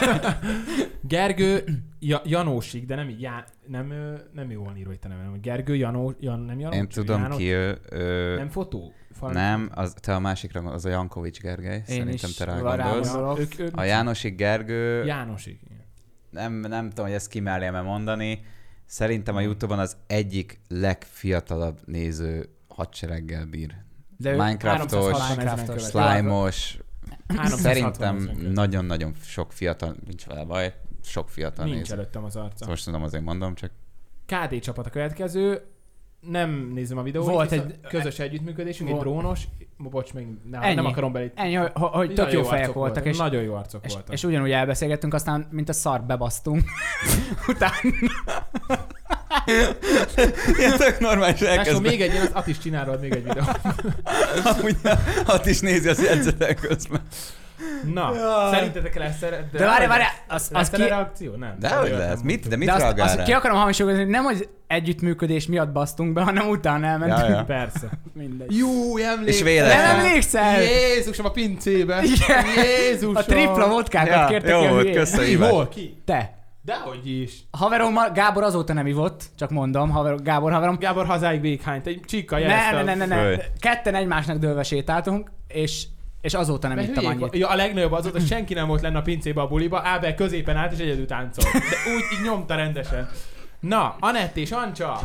Gergő ja, Janósig, de nem így Ján, nem, ö, nem jól van írva itt a neve, hanem Gergő Janó, Jan, nem Janó?
Én tudom
János,
ki ő. ő
Nem fotó? Fal-
nem, az, te a másikra, az a Jankovics Gergely, szerintem
is
te rá
arra
gondolsz.
gondolok.
Ők, ők,
A Jánosik Gergő,
Jánosig. igen.
nem, nem tudom, hogy ezt kimerjem mondani, szerintem a Youtube-on az egyik legfiatalabb néző hadsereggel bír.
De ő
Minecraftos,
360 ezeren
Minecraftos,
követő.
Slime-os,
360 ezeren
Szerintem
követő.
nagyon-nagyon sok fiatal, nincs vele baj, sok fiatal
Nincs
néz.
előttem az arca.
Szóval most tudom, azért mondom, csak
KD csapat a következő. Nem nézem a videót.
Volt
viszont
egy-
közös együttműködésünk,
Volt.
egy drónos. Bocs, még nem,
Ennyi.
nem akarom belé.
Ennyi, hogy, hogy tök jó fejek
arcok
voltak, és,
Nagyon jó arcok
és,
voltak.
és ugyanúgy elbeszélgettünk, aztán mint a szar bebasztunk. Utána
ilyen tök normális
Lássuk,
elkezdve.
még egy, én az Atis csinál rólad még egy videót.
Amúgy hat is nézi az jegyzetek közben.
Na,
Jaj.
szerintetek lesz erre?
De várj, várj, az, az
Az
ki...
ki... reakció? Nem.
De
Erről
hogy
nem
lesz?
mondtuk.
Mit, de mit
De azt,
reagál
azt
rá?
ki akarom hangsúlyozni, hogy nem az együttműködés miatt basztunk be, hanem utána elmentünk.
Ja, ja.
Persze.
Mindegy.
Jú, emlékszem.
És véletlen.
Nem emlékszel?
Jézusom, a pincébe.
Igen.
Jézusom.
A tripla vodkákat
Ja,
kértek
jó
ilyen
volt,
hülyén.
köszönöm.
Ki, hol, ki?
Te.
Dehogy is.
Haverommal, Gábor azóta nem ivott, csak mondom, haver, Gábor haverom.
Gábor hazáig véghányt, egy csíka
Ne,
jelezte.
ne, ne, ne, ne.
Följ.
Ketten egymásnak dőlve sétáltunk, és, és azóta nem
Mert
ittam
hülyék
annyit.
va- Ja, a legnagyobb az volt, hogy senki nem volt lenne a pincébe a buliba, Ábel középen állt és egyedül táncolt. De úgy így nyomta rendesen. Na, Anett és Ancsa,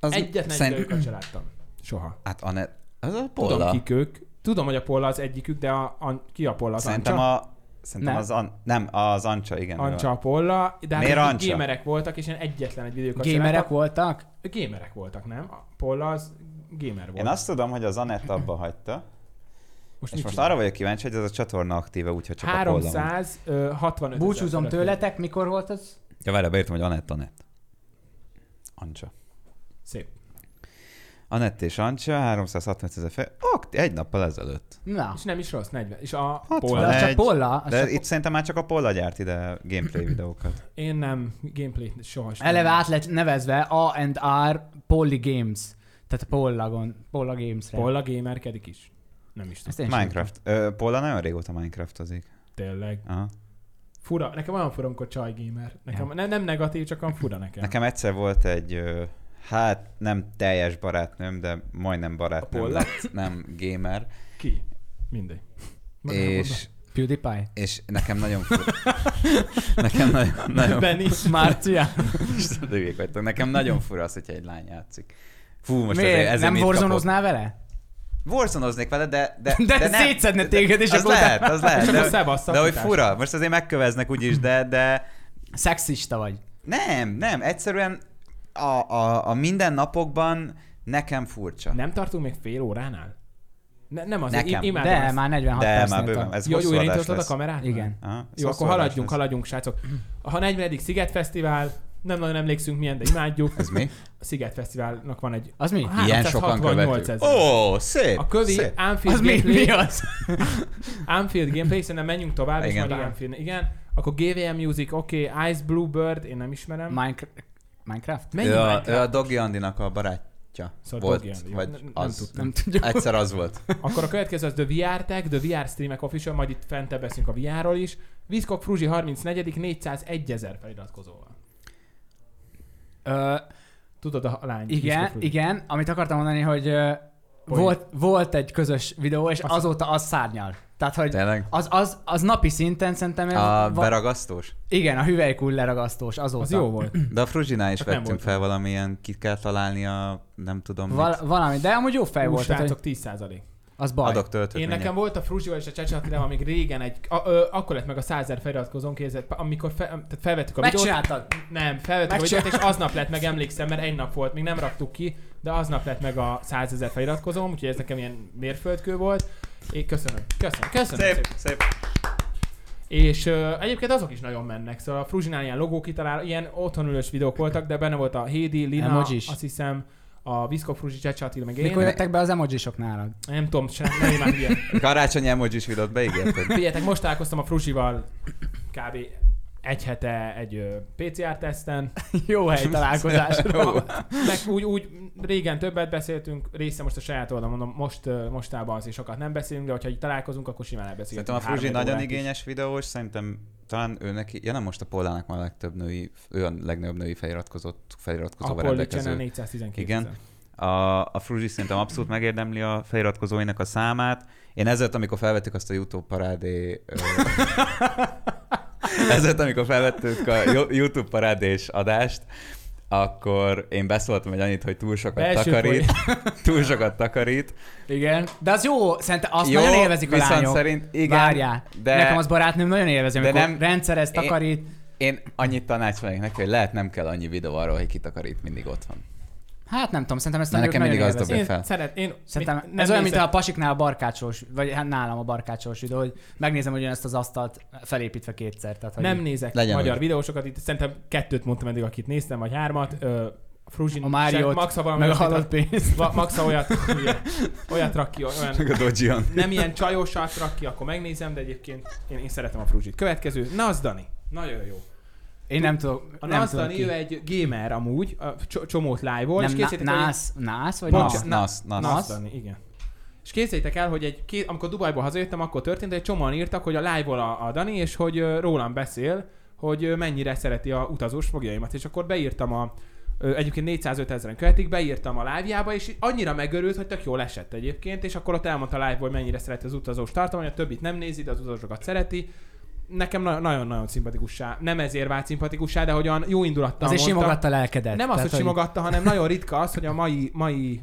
Az
egyetlen egy
szerint-
időket se láttam. Soha.
Hát a net... Az a
Tudom,
Polla.
kik ők. Tudom, hogy a Polla az egyikük, de a, a, ki a Polla? Az
Szerintem
Ancsa?
a... Szerintem
Nem.
az an... Nem, az Ancsa, igen. ő
Ancsa
van.
a Polla, de hát
Miért
ők
Ancsa?
gémerek voltak, és én egyetlen egy videókat se
Gémerek
láttam.
voltak?
Gémerek voltak, nem? A Polla az gamer volt.
Én azt tudom, hogy az Anett abba hagyta, és
most, mit
most
csinál?
arra vagyok kíváncsi, hogy ez a csatorna aktíve, úgyhogy csak a Polla. van.
365
Búcsúzom
ezer
tőletek, mikor volt az?
Ja, várj, beírtam, hogy Anett, Anett. Ancsa.
Szép.
Anett és Ancsa, 365 ezer fe... Ok, egy nappal ezelőtt.
Na,
És nem is rossz, 40. És a
Hatvan.
de az
Polla,
Egy.
csak Polla, az
De
csak
itt szerintem már csak a Polla gyárt ide gameplay videókat.
én nem gameplay soha sem.
eleve át lett nevezve A&R Polly Games. Tehát a Pollagon, Polla Games-re.
Polla gamerkedik is. Nem is tudom.
Ezt én sem
Minecraft. Ö, Polla nagyon régóta Minecraftozik.
Tényleg.
Aha.
Fura. Nekem olyan fura, amikor csaj gamer. Nekem, nem. nem negatív, csak olyan fura nekem.
Nekem egyszer volt egy, ö, hát nem teljes barátnőm, de majdnem barátnőm
Polla?
lett, nem gamer,
Ki? Mindegy. Magába
és,
tudtam. PewDiePie.
és nekem nagyon fur... nekem nagyon, nagyon
Ben is.
Márcia.
Isten, de hülyék vagytok. Nekem nagyon fura az, hogyha egy lány játszik. Fú, most
Miért?
ezért, ezért
nem
mit kapok?
borzonoznál vele?
Warzonoznék vele, de... De,
De, de
nem-
szétszedne téged, és
az
akkor utána-
lehet, az lehet.
És akkor
De,
szevasz
de hogy
szakítás.
fura, most azért megköveznek úgyis, de, de
Szexista vagy.
nem, nem, egyszerűen a, a, a mindennapokban nekem furcsa.
Nem tartunk még fél óránál? Ne, nem az,
Nekem.
Nekem. imádom
De
ezt.
már 46
de
percnél
már bőven,
tart.
ez
hát Jó,
hosszú
jó,
adás
irányítottad a
lesz.
kamerát?
Igen.
Aha, ez
Jó,
hosszú
akkor
adás
haladjunk,
lesz.
haladjunk, srácok. A 40. Sziget Fesztivál, nem nagyon emlékszünk milyen, de imádjuk.
Ez mi?
A Sziget Fesztiválnak van egy...
Az mi?
Ilyen sokan
368
követő.
hát ezer.
Ó, szép,
A kövi
szép.
Anfield
Az mi,
gameplay,
mi az?
Anfield gameplay, szerintem menjünk tovább, és
Igen.
majd Anfield. Igen, akkor GVM Music, oké, okay, Ice Bluebird, én nem ismerem.
Minecraft? Minecraft?
Mennyi
ő, a,
Minecraft?
ő a Dogi Andinak a barátja
Szóval
volt,
Dogi Andi.
vagy
Nem- nem
az.
tudtam.
Nem tudjuk.
Egyszer az volt.
Akkor a következő az The VR Tech, The VR Streamek Official, majd itt fentebb beszélünk a VR-ról is. Viszkok Fruzsi 34. 401 ezer feliratkozóval.
Ö,
Tudod a lány? Viszkok
igen,
Fruzsi.
igen. Amit akartam mondani, hogy ö, volt, volt egy közös videó, és
Azt-
azóta az szárnyal. Tehát, hogy
Tényleg?
az, az, az napi szinten szerintem...
A
va-
beragasztós?
Igen, a hüvelykúj leragasztós azóta.
Az jó volt.
De a Fruzsinál is
Csak nem
vettünk
voltam.
fel valamilyen, ki kell találni a nem tudom mit.
Val- valami, de amúgy jó fej
Ú,
volt, tehát,
srácok,
hogy
10%.
az baj.
Adok töltőt
Én
mindjárt.
nekem volt a Fruzsival és a Csecsatilával még régen egy... A, ö, akkor lett meg a százer feliratkozón kézett, amikor fe, tehát felvettük a videót.
Megcsináltad?
Nem, felvettük a videót, és aznap lett meg, emlékszem, mert egy nap volt, még nem raktuk ki, de aznap lett meg a százezer feliratkozóm, úgyhogy ez nekem ilyen mérföldkő volt. Én köszönöm, köszönöm, köszönöm.
Szép,
szépen.
szép.
És ö, egyébként azok is nagyon mennek, szóval a Fruzsinál ilyen logó kitalál, ilyen otthonülős videók voltak, de benne volt a Hédi, Lina,
Emojis.
azt hiszem, a Viszko Fruzsi, Csecsatil, meg én.
Mikor jöttek be az emojisok nálad?
Nem tudom, sem, nem imádom ilyen.
Karácsonyi emojis videót beígérted.
Figyeljetek, most találkoztam a Fruzsival kb. egy hete egy ö, PCR teszten,
Jó hely találkozásra.
meg úgy, úgy régen többet beszéltünk, része most a saját oldalon, mondom, most, ö, mostában azért sokat nem beszélünk, de hogyha így találkozunk, akkor simán elbeszélünk.
Szerintem a Fruzsi nagyon igényes videós, szerintem talán ő neki, ja nem most a Pollának már a legtöbb női, ő a legnagyobb női feliratkozott,
A
feliratkozóval
Polly
rendelkező.
Channel 412
Igen.
ezer.
A, a Fruzsi szerintem abszolút megérdemli a feliratkozóinak a számát. Én ezért, amikor felvettük azt a YouTube parádé... ö, ezért, amikor felvettük a Yo- YouTube parádés adást, akkor én beszóltam egy annyit, hogy túl sokat
Belső
takarít, túl sokat takarít.
Igen. De az jó, szerintem azt
Jó,
nagyon élvezik a
viszont
lányok.
szerint igen,
Várjál.
de
Nekem az barátnőm nagyon élvezi,
de
amikor
nem-
rendszerez,
Én-
takarít.
én annyit tanácsolnék neki, hogy lehet nem kell annyi videó arról, hogy kitakarít mindig otthon.
Hát nem tudom, szerintem ezt
Na,
a nők
nekem mindig
nagyon
az
élvezik.
dobja fel.
Én szeret, én
Szerintem
mit-
ez olyan, mint
nézek-
a pasiknál a barkácsolós, vagy hát nálam a barkácsolós videó, hogy megnézem ugyanezt az asztalt felépítve kétszer. Tehát, hogy
Nem nézek
Legyen
Legyen magyar
úgy.
úgy. videósokat, itt szerintem kettőt mondtam eddig, akit néztem, vagy hármat. Ö, Fruzsin,
A Máriót,
Max, ha valami
meg a
olyasmit
halott
rak-
pénzt.
va- Max, ha olyat, olyat, olyat rak ki, olyan,
Meg a Dojion.
nem ilyen csajosat rak ki, akkor megnézem, de egyébként én, én szeretem a Fruzsit. Következő, Naz Dani. Nagyon jó.
Én nem tudok.
A
nem
Naz
tudom
Dani,
ki.
ő egy gamer amúgy, a cso- csomót live-ol, és
Nem,
készített egy-
nász, nász, vagy
Bocs,
nász?
na-
Nasz, nasz.
Nasz. Dani, igen. És képzeljétek el, hogy egy, ké- amikor Dubajból hazajöttem, akkor történt, hogy egy csomóan írtak, hogy a live-ból a, a Dani, és hogy ö, rólam beszél, hogy ö, mennyire szereti a utazós fogjaimat. És akkor beírtam a ö, egyébként 405 ezeren követik, beírtam a live-jába, és annyira megörült, hogy tök jól esett egyébként, és akkor ott elmondta live hogy mennyire szereti az utazós tartalmat, a többit nem nézi, de az utazósokat szereti. Nekem na- nagyon-nagyon szimpatikussá, nem ezért vált szimpatikussá, de hogy olyan jó indulattal
Azért
mondta.
simogatta lelkedet. Szóval,
Nem az,
Tehát,
hogy simogatta, hanem nagyon ritka az, hogy a mai, mai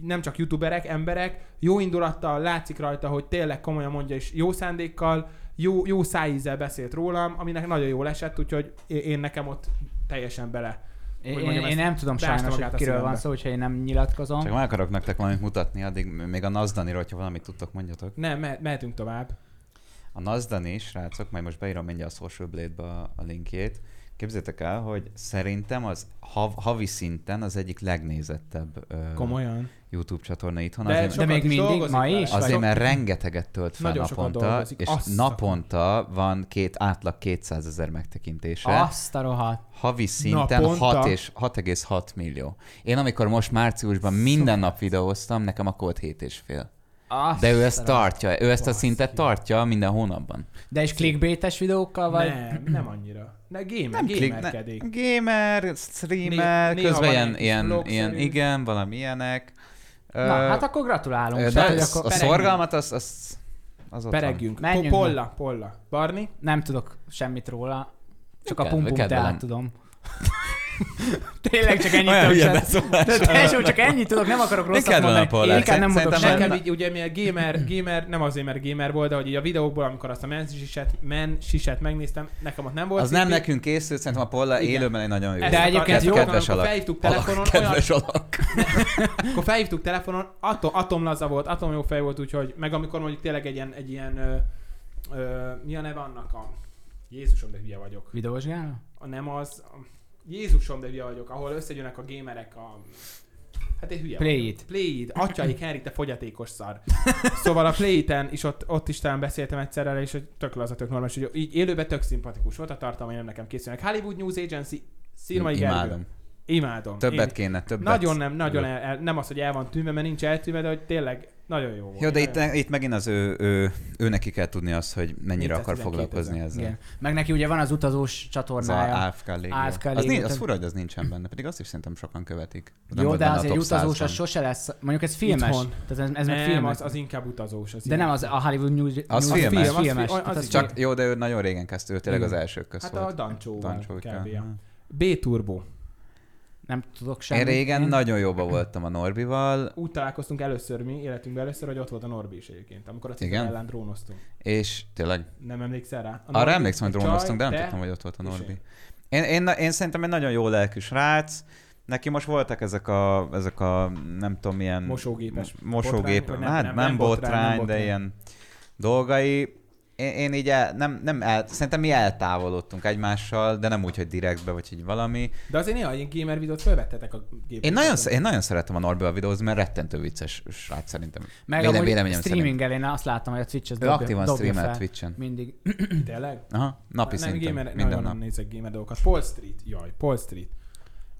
nem csak youtuberek, emberek jó indulattal látszik rajta, hogy tényleg komolyan mondja, és jó szándékkal, jó, jó szájízzel beszélt rólam, aminek nagyon jól esett, úgyhogy én, én nekem ott teljesen bele.
Én,
hogy
én,
mondjam,
én
ezt
nem tudom
beásta
sajnos,
magát
hogy
a
kiről van
szívembe.
szó, hogyha én nem nyilatkozom.
Csak meg akarok nektek valamit mutatni, addig még a Nazdaniról, hogyha valamit tudtok, mondjatok.
Nem, me- mehetünk tovább.
A Nazdani, srácok, majd most beírom mindjárt a Social Blade-be a, a linkjét. Képzeljétek el, hogy szerintem az hav, havi szinten az egyik legnézettebb ö,
Komolyan.
YouTube csatorna itthon.
De
azért,
sokat
még
is
mindig,
dolgozik
ma
vele.
is?
azért
sok-
mert rengeteget tölt fel
Nagyon sokat
naponta,
dolgozik.
és
Azt
naponta van két átlag 200 ezer megtekintése.
Azt a rohadt.
Havi szinten
Naponta?
6 és 6,6 millió. Én amikor most márciusban minden nap videóztam, nekem akkor volt 7 és fél.
Azt
De ő
a
ezt
rohadt.
tartja, ő ezt a szintet tartja minden hónapban.
De és clickbaites videókkal vagy?
Nem, nem annyira. Ne, game,
Nem
nem
klik, ne,
gamerkedik.
gamer, streamer, néha
Né- néha
közben
van
ilyen,
egy kis
ilyen,
vlogszerű.
ilyen, igen, valami ilyenek.
Na, hát akkor gratulálunk.
de
Tehát, hogy
az,
akkor
a
peregjünk.
szorgalmat az, az, az ott van.
Peregjünk. Po-
Menjünk
Polla, polla. Barni?
nem tudok semmit róla. Csak a
Kedve-
pum pum
kedvelem.
teát tudom. Tényleg csak ennyit
Olyan hülye
tudok. De
beszólás.
tesó, csak ennyit tudok, nem akarok rosszat
kedvelem a
mondani.
Pollát?
Én inkább nem mondok
Szerintem
semmit.
Nekem így ugye milyen gamer, gamer, nem azért, mert gamer volt, de hogy így a videókból, amikor azt a men siset, men siset megnéztem, nekem ott nem volt.
Az nem
szipi.
nekünk készült, szerintem a Polla
Igen.
élőben egy nagyon jó.
Ezt
De
akartam
egyébként
Ked-
jó,
kedves
amikor
alak.
felhívtuk
Alak,
telefonon, olyan,
Kedves alak.
akkor felhívtuk telefonon, atom, atomlaza volt, atom jó fej volt, úgyhogy meg amikor mondjuk tényleg egy ilyen, egy ilyen ö, ö, mi a neve annak a... Jézusom, de hülye vagyok.
Videósgál?
A nem az... A, Jézusom, de hülye vagyok, ahol összegyűlnek a gémerek a... Hát én hülye
Play
vagyok.
It.
Playid, atyaik Henrik, te fogyatékos szar. Szóval a Playiten is ott, ott is talán beszéltem egyszer el, és hogy tök laza, tök normális, hogy így élőben tök szimpatikus volt a tartalma, nem nekem készülnek. Hollywood News Agency, Szirmai Gergő.
Imádom.
Imádom.
Többet
Én-
kéne, többet.
Nagyon nem, nagyon el, el, nem az, hogy el van tűnve, mert nincs eltűnve, de hogy tényleg nagyon jó volt.
Jó, de itt,
Nagyon-
itt megint az ő, ő, ő neki kell tudni azt, hogy mennyire akar
412
foglalkozni ezzel.
Igen. Meg neki ugye van az utazós
Az a
csatornája.
AFK légió.
AFK
Az,
légió,
nincs, az
tehát-
fura, hogy az nincsen benne, pedig azt is szerintem sokan követik. Az nem
Jó,
volt
de
benne a
azért
top
utazós az
100-ban.
sose lesz. Mondjuk ez filmes.
Itthon.
Tehát ez, ez meg
nem,
filmes.
az, az inkább utazós. Az
De nem az a Hollywood News.
Az
News-
filmes.
Az filmes.
Az-
Tehát
az
az
igen.
csak
Csak jó, de ő nagyon régen kezdte, ő tényleg az
Igen.
elsők között.
Hát a Dancsóval
Dancsó
kb.
után.
ja. B Turbo.
nem tudok
Én
semmit. Mm.
régen nagyon jóba voltam a Norbival,
Úgy találkoztunk először mi életünkben először, hogy ott volt a Norbi is egyébként, amikor a
Igen?
Cipel ellen drónoztunk.
és tényleg
Nem emlékszel rá? A
Arra
Norbi-
emlékszem, hogy
Csaj,
drónoztunk, de nem
te-
tudtam, hogy ott volt a
és
Norbi.
én.
Én, én, én szerintem egy nagyon jó lelkű srác. Neki most voltak ezek a, ezek a nem tudom, milyen...
Mosógépes
mo- Mosógép, botrány,
botrány, vagy nem-
hát nem,
nem-
nem,
nem
botrány, botrány,
botrány,
de
nem botrány.
ilyen dolgai. Én, én így el, nem, nem el, szerintem mi eltávolodtunk egymással, de nem úgy, hogy direktbe, vagy így valami.
De azért néha ilyen gamer videót felvettetek a gépet.
Én nagyon, sz- én nagyon szeretem a Norbival videózni, mert rettentő vicces srác szerintem.
Meg
Vélem-
amúgy
véleményem szerint.
streaminggel én azt láttam, hogy a Twitch ez
Ő
dobja,
aktívan
dobja
streamel
fel.
Twitch-en.
Mindig.
Tényleg?
Aha, napi
nem,
szinten,
gamer,
minden
nagyon
nap.
nem nézek gamer dolgokat. Paul Street, jaj, Paul Street.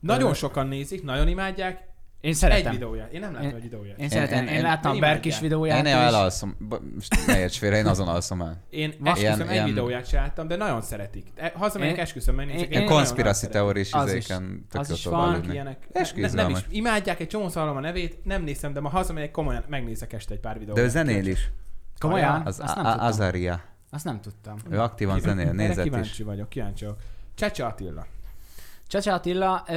Nagyon sokan nézik, nagyon imádják.
Én
Egy
szeretem.
videóját. Én nem láttam
Én-
egy videóját.
Én szeretem.
én-
Én,
én-
láttam
én
a Berkis
imádják.
videóját.
Én
is.
el elalszom, Ba- most ne érts félre, én azon alszom el.
Én
Ilyen-
esküszöm, egy
ilyen-
videóját se láttam, de nagyon szeretik. E- Hazamegyek
Én-
esküszöm, menni.
én-
nézek.
én-
Ilyen
nagyon-
konspiracy
nagyon
teóris
Az is-
izéken tök
az
jó
is
tovább
van,
szeretik. Vannak
ülni.
ilyenek.
És
Ne, ne, nem is
izgalmas.
imádják, egy csomó hallom a nevét, nem nézem, de ma hazamegyek, komolyan megnézek este egy pár videót.
De ő zenél is.
Komolyan?
Az
azt nem
A- A-
tudtam.
Azaria.
Azt nem tudtam.
Ő aktívan zenél, nézett
kíváncsi
is.
vagyok, kíváncsi vagyok. Csecse Attila.
Csacsa Attila, ö,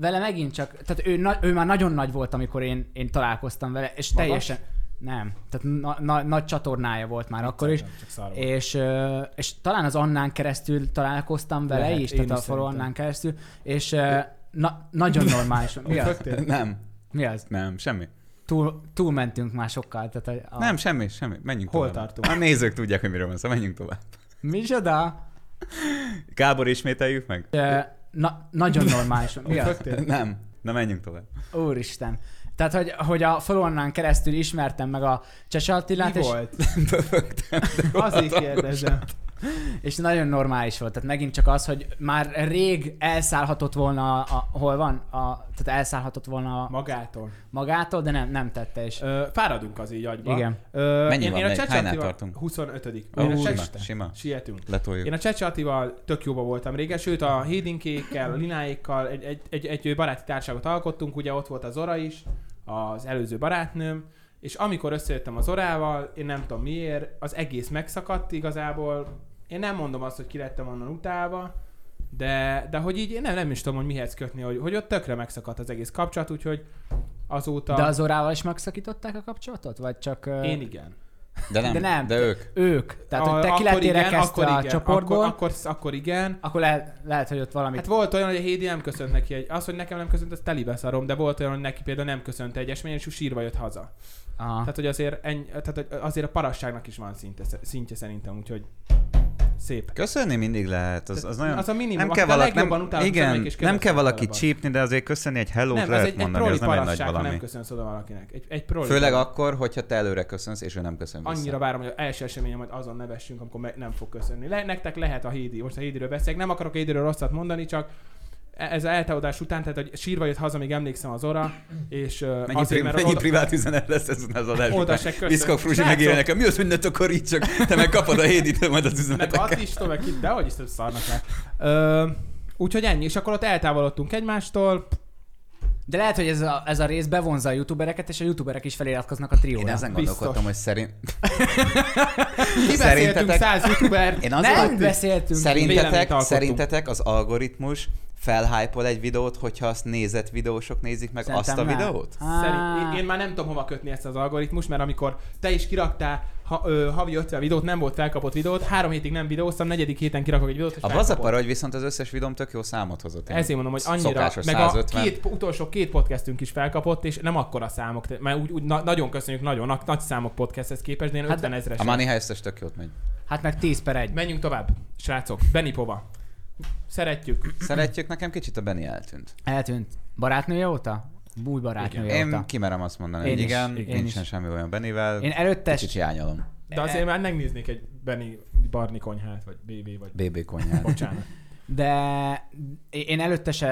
vele megint csak, tehát ő, na, ő már nagyon nagy volt, amikor én, én találkoztam vele, és
Magas?
teljesen Nem, tehát na, na, nagy csatornája volt már akkor is.
Szerintem Csak szar volt.
És, ö, és talán az Annán keresztül találkoztam vele
Lehet,
Lehet, is,
én
tehát
is
a forró
szerintem.
Annán keresztül, és ö, na, nagyon normális. Mi az?
Nem,
Mi az?
nem, semmi.
Túl, túlmentünk már sokkal. Tehát a, a...
Nem, semmi, semmi. Menjünk
Ah. Hol
tovább.
tartunk?
A nézők tudják, hogy miről van szó. Menjünk tovább.
Micsoda?
Gábor, ismételjük meg?
Ö, Na, nagyon normális. Mi az?
Nem. Na, menjünk tovább.
Úristen. Tehát, hogy, hogy a falonnán keresztül ismertem meg a Csese Attilát,
Mi
és,
volt?
Böfögtem.
Azért kérdezem.
és nagyon normális volt. Tehát megint csak az, hogy már rég elszállhatott volna, a, a, hol van? A, tehát elszállhatott volna a
Magától.
magától, de nem, nem tette is.
Ö, fáradunk az így agyba.
Igen.
Ö,
Mennyi
én,
van
én a
még?
Csecsatival-
Hánynál tartunk?
25
Ó,
Én a
sima,
Csecs-
sima.
Sietünk. Én
Letoljuk.
a Csecsatival tök jóba voltam régen, sőt a Hédinkékkel, a Lináékkal egy, egy, egy, egy baráti társágot alkottunk, ugye ott volt a Zora is, az előző barátnőm, és amikor összejöttem a Zorával, én nem tudom miért, az egész megszakadt igazából. Én nem mondom azt, hogy ki lettem onnan utálva, de, de hogy így én nem, nem is tudom, hogy mihez kötni, hogy, hogy ott tökre megszakadt az egész kapcsolat, úgyhogy azóta...
De az orával is megszakították a kapcsolatot? Vagy csak ö,
Én igen.
De nem,
De nem.
de ők.
ők? Tehát, hogy te
A-
ki lettél
akkor
rekesztve a
igen,
csoportból,
Akkor,
akkor,
akkor, akkor igen.
lehet, lehet, hogy ott valami...
Hát volt olyan, hogy a Hédi nem köszönt neki egy... Az, hogy nekem nem köszönt, az telibe szarom, de volt olyan, hogy neki például nem köszönt egy esményen, és ő sírva jött haza.
Aha.
Tehát, hogy azért, ennyi, tehát, hogy azért a parasságnak is van szinte, szintje szerintem, úgyhogy szép.
Köszönni mindig lehet, az, az nagyon...
az a minimum,
nem kell
akit a
valaki,
legjobban
nem,
utálok, az
igen,
amelyik is
nem kell
kedves
valaki
általában.
csípni, de azért köszönni egy hello
nem, ez
lehet
egy, egy
mondani,
proli
az nem egy nagy
parasság, ha nem
valami.
köszönsz oda valakinek. Egy, egy proli
Főleg
parasság.
akkor, hogyha te előre köszönsz, és ő nem köszön vissza.
Annyira várom, hogy az első eseményen majd azon nevessünk, amikor me- nem fog köszönni. Le- nektek lehet a Hédi, most a Hédiről beszélek, nem akarok a Hédiről rosszat mondani, csak e- ez a eltávodás után, tehát hogy sírva jött haza, még emlékszem az óra, és ö,
Mennyi,
azért,
pri-
mert
mennyi
oda-
privát üzenet lesz ez az
Oda
adás?
se köszön.
Viszkok Fruzsi
Srácok,
megírja nekem, mi az, hogy ne takarítsák, te meg kapod a hédítől majd az
Meg
üzeneteket.
Attistól, meg ki, de hogy is több szarnak le. Ö, úgyhogy ennyi, és akkor ott eltávolodtunk egymástól.
De lehet, hogy ez a, ez a rész bevonza a youtubereket, és a youtuberek is feliratkoznak a trióra.
Én ezen
Biztos.
gondolkodtam, hogy szerint...
Kibeszéltünk 100 youtubert.
Én
Nem
azon,
beszéltünk.
Véleményt
Szerintetek,
alkottunk.
szerintetek az algoritmus felhype egy videót, hogyha azt nézett videósok nézik meg
Szerintem
azt a
nem.
videót?
Szerint, én, én már nem tudom hova kötni ezt az algoritmus, mert amikor te is kiraktál ha, ö, havi 50 videót, nem volt felkapott videót, három hétig nem videóztam, negyedik héten kirakok egy videót, és
A az a
felkapom.
para, hogy viszont az összes videóm tök jó számot hozott. Én
Ezért mondom, hogy annyira,
Szokásos
meg
150.
a két, utolsó két podcastünk is felkapott, és nem akkora számok, te- mert úgy, úgy na, nagyon köszönjük, nagyon na, nagy számok podcasthez képest, de én
Hát
50 ezres.
A Money Heist-es tök jót megy.
Hát meg 10 per 1.
Menjünk tovább, srácok, Benipova. Szeretjük.
Szeretjük, nekem kicsit a Benny eltűnt.
Eltűnt. Barátnője óta? Új barátnője
Én
óta.
kimerem azt mondani,
Én
hogy
is,
igen,
én
nincsen
is.
semmi olyan Bennyvel.
Én előtte...
Kicsit hiányolom.
De azért már megnéznék egy Benny Barni konyhát, vagy BB, vagy
BB konyhát.
bocsánat.
De én előtte se...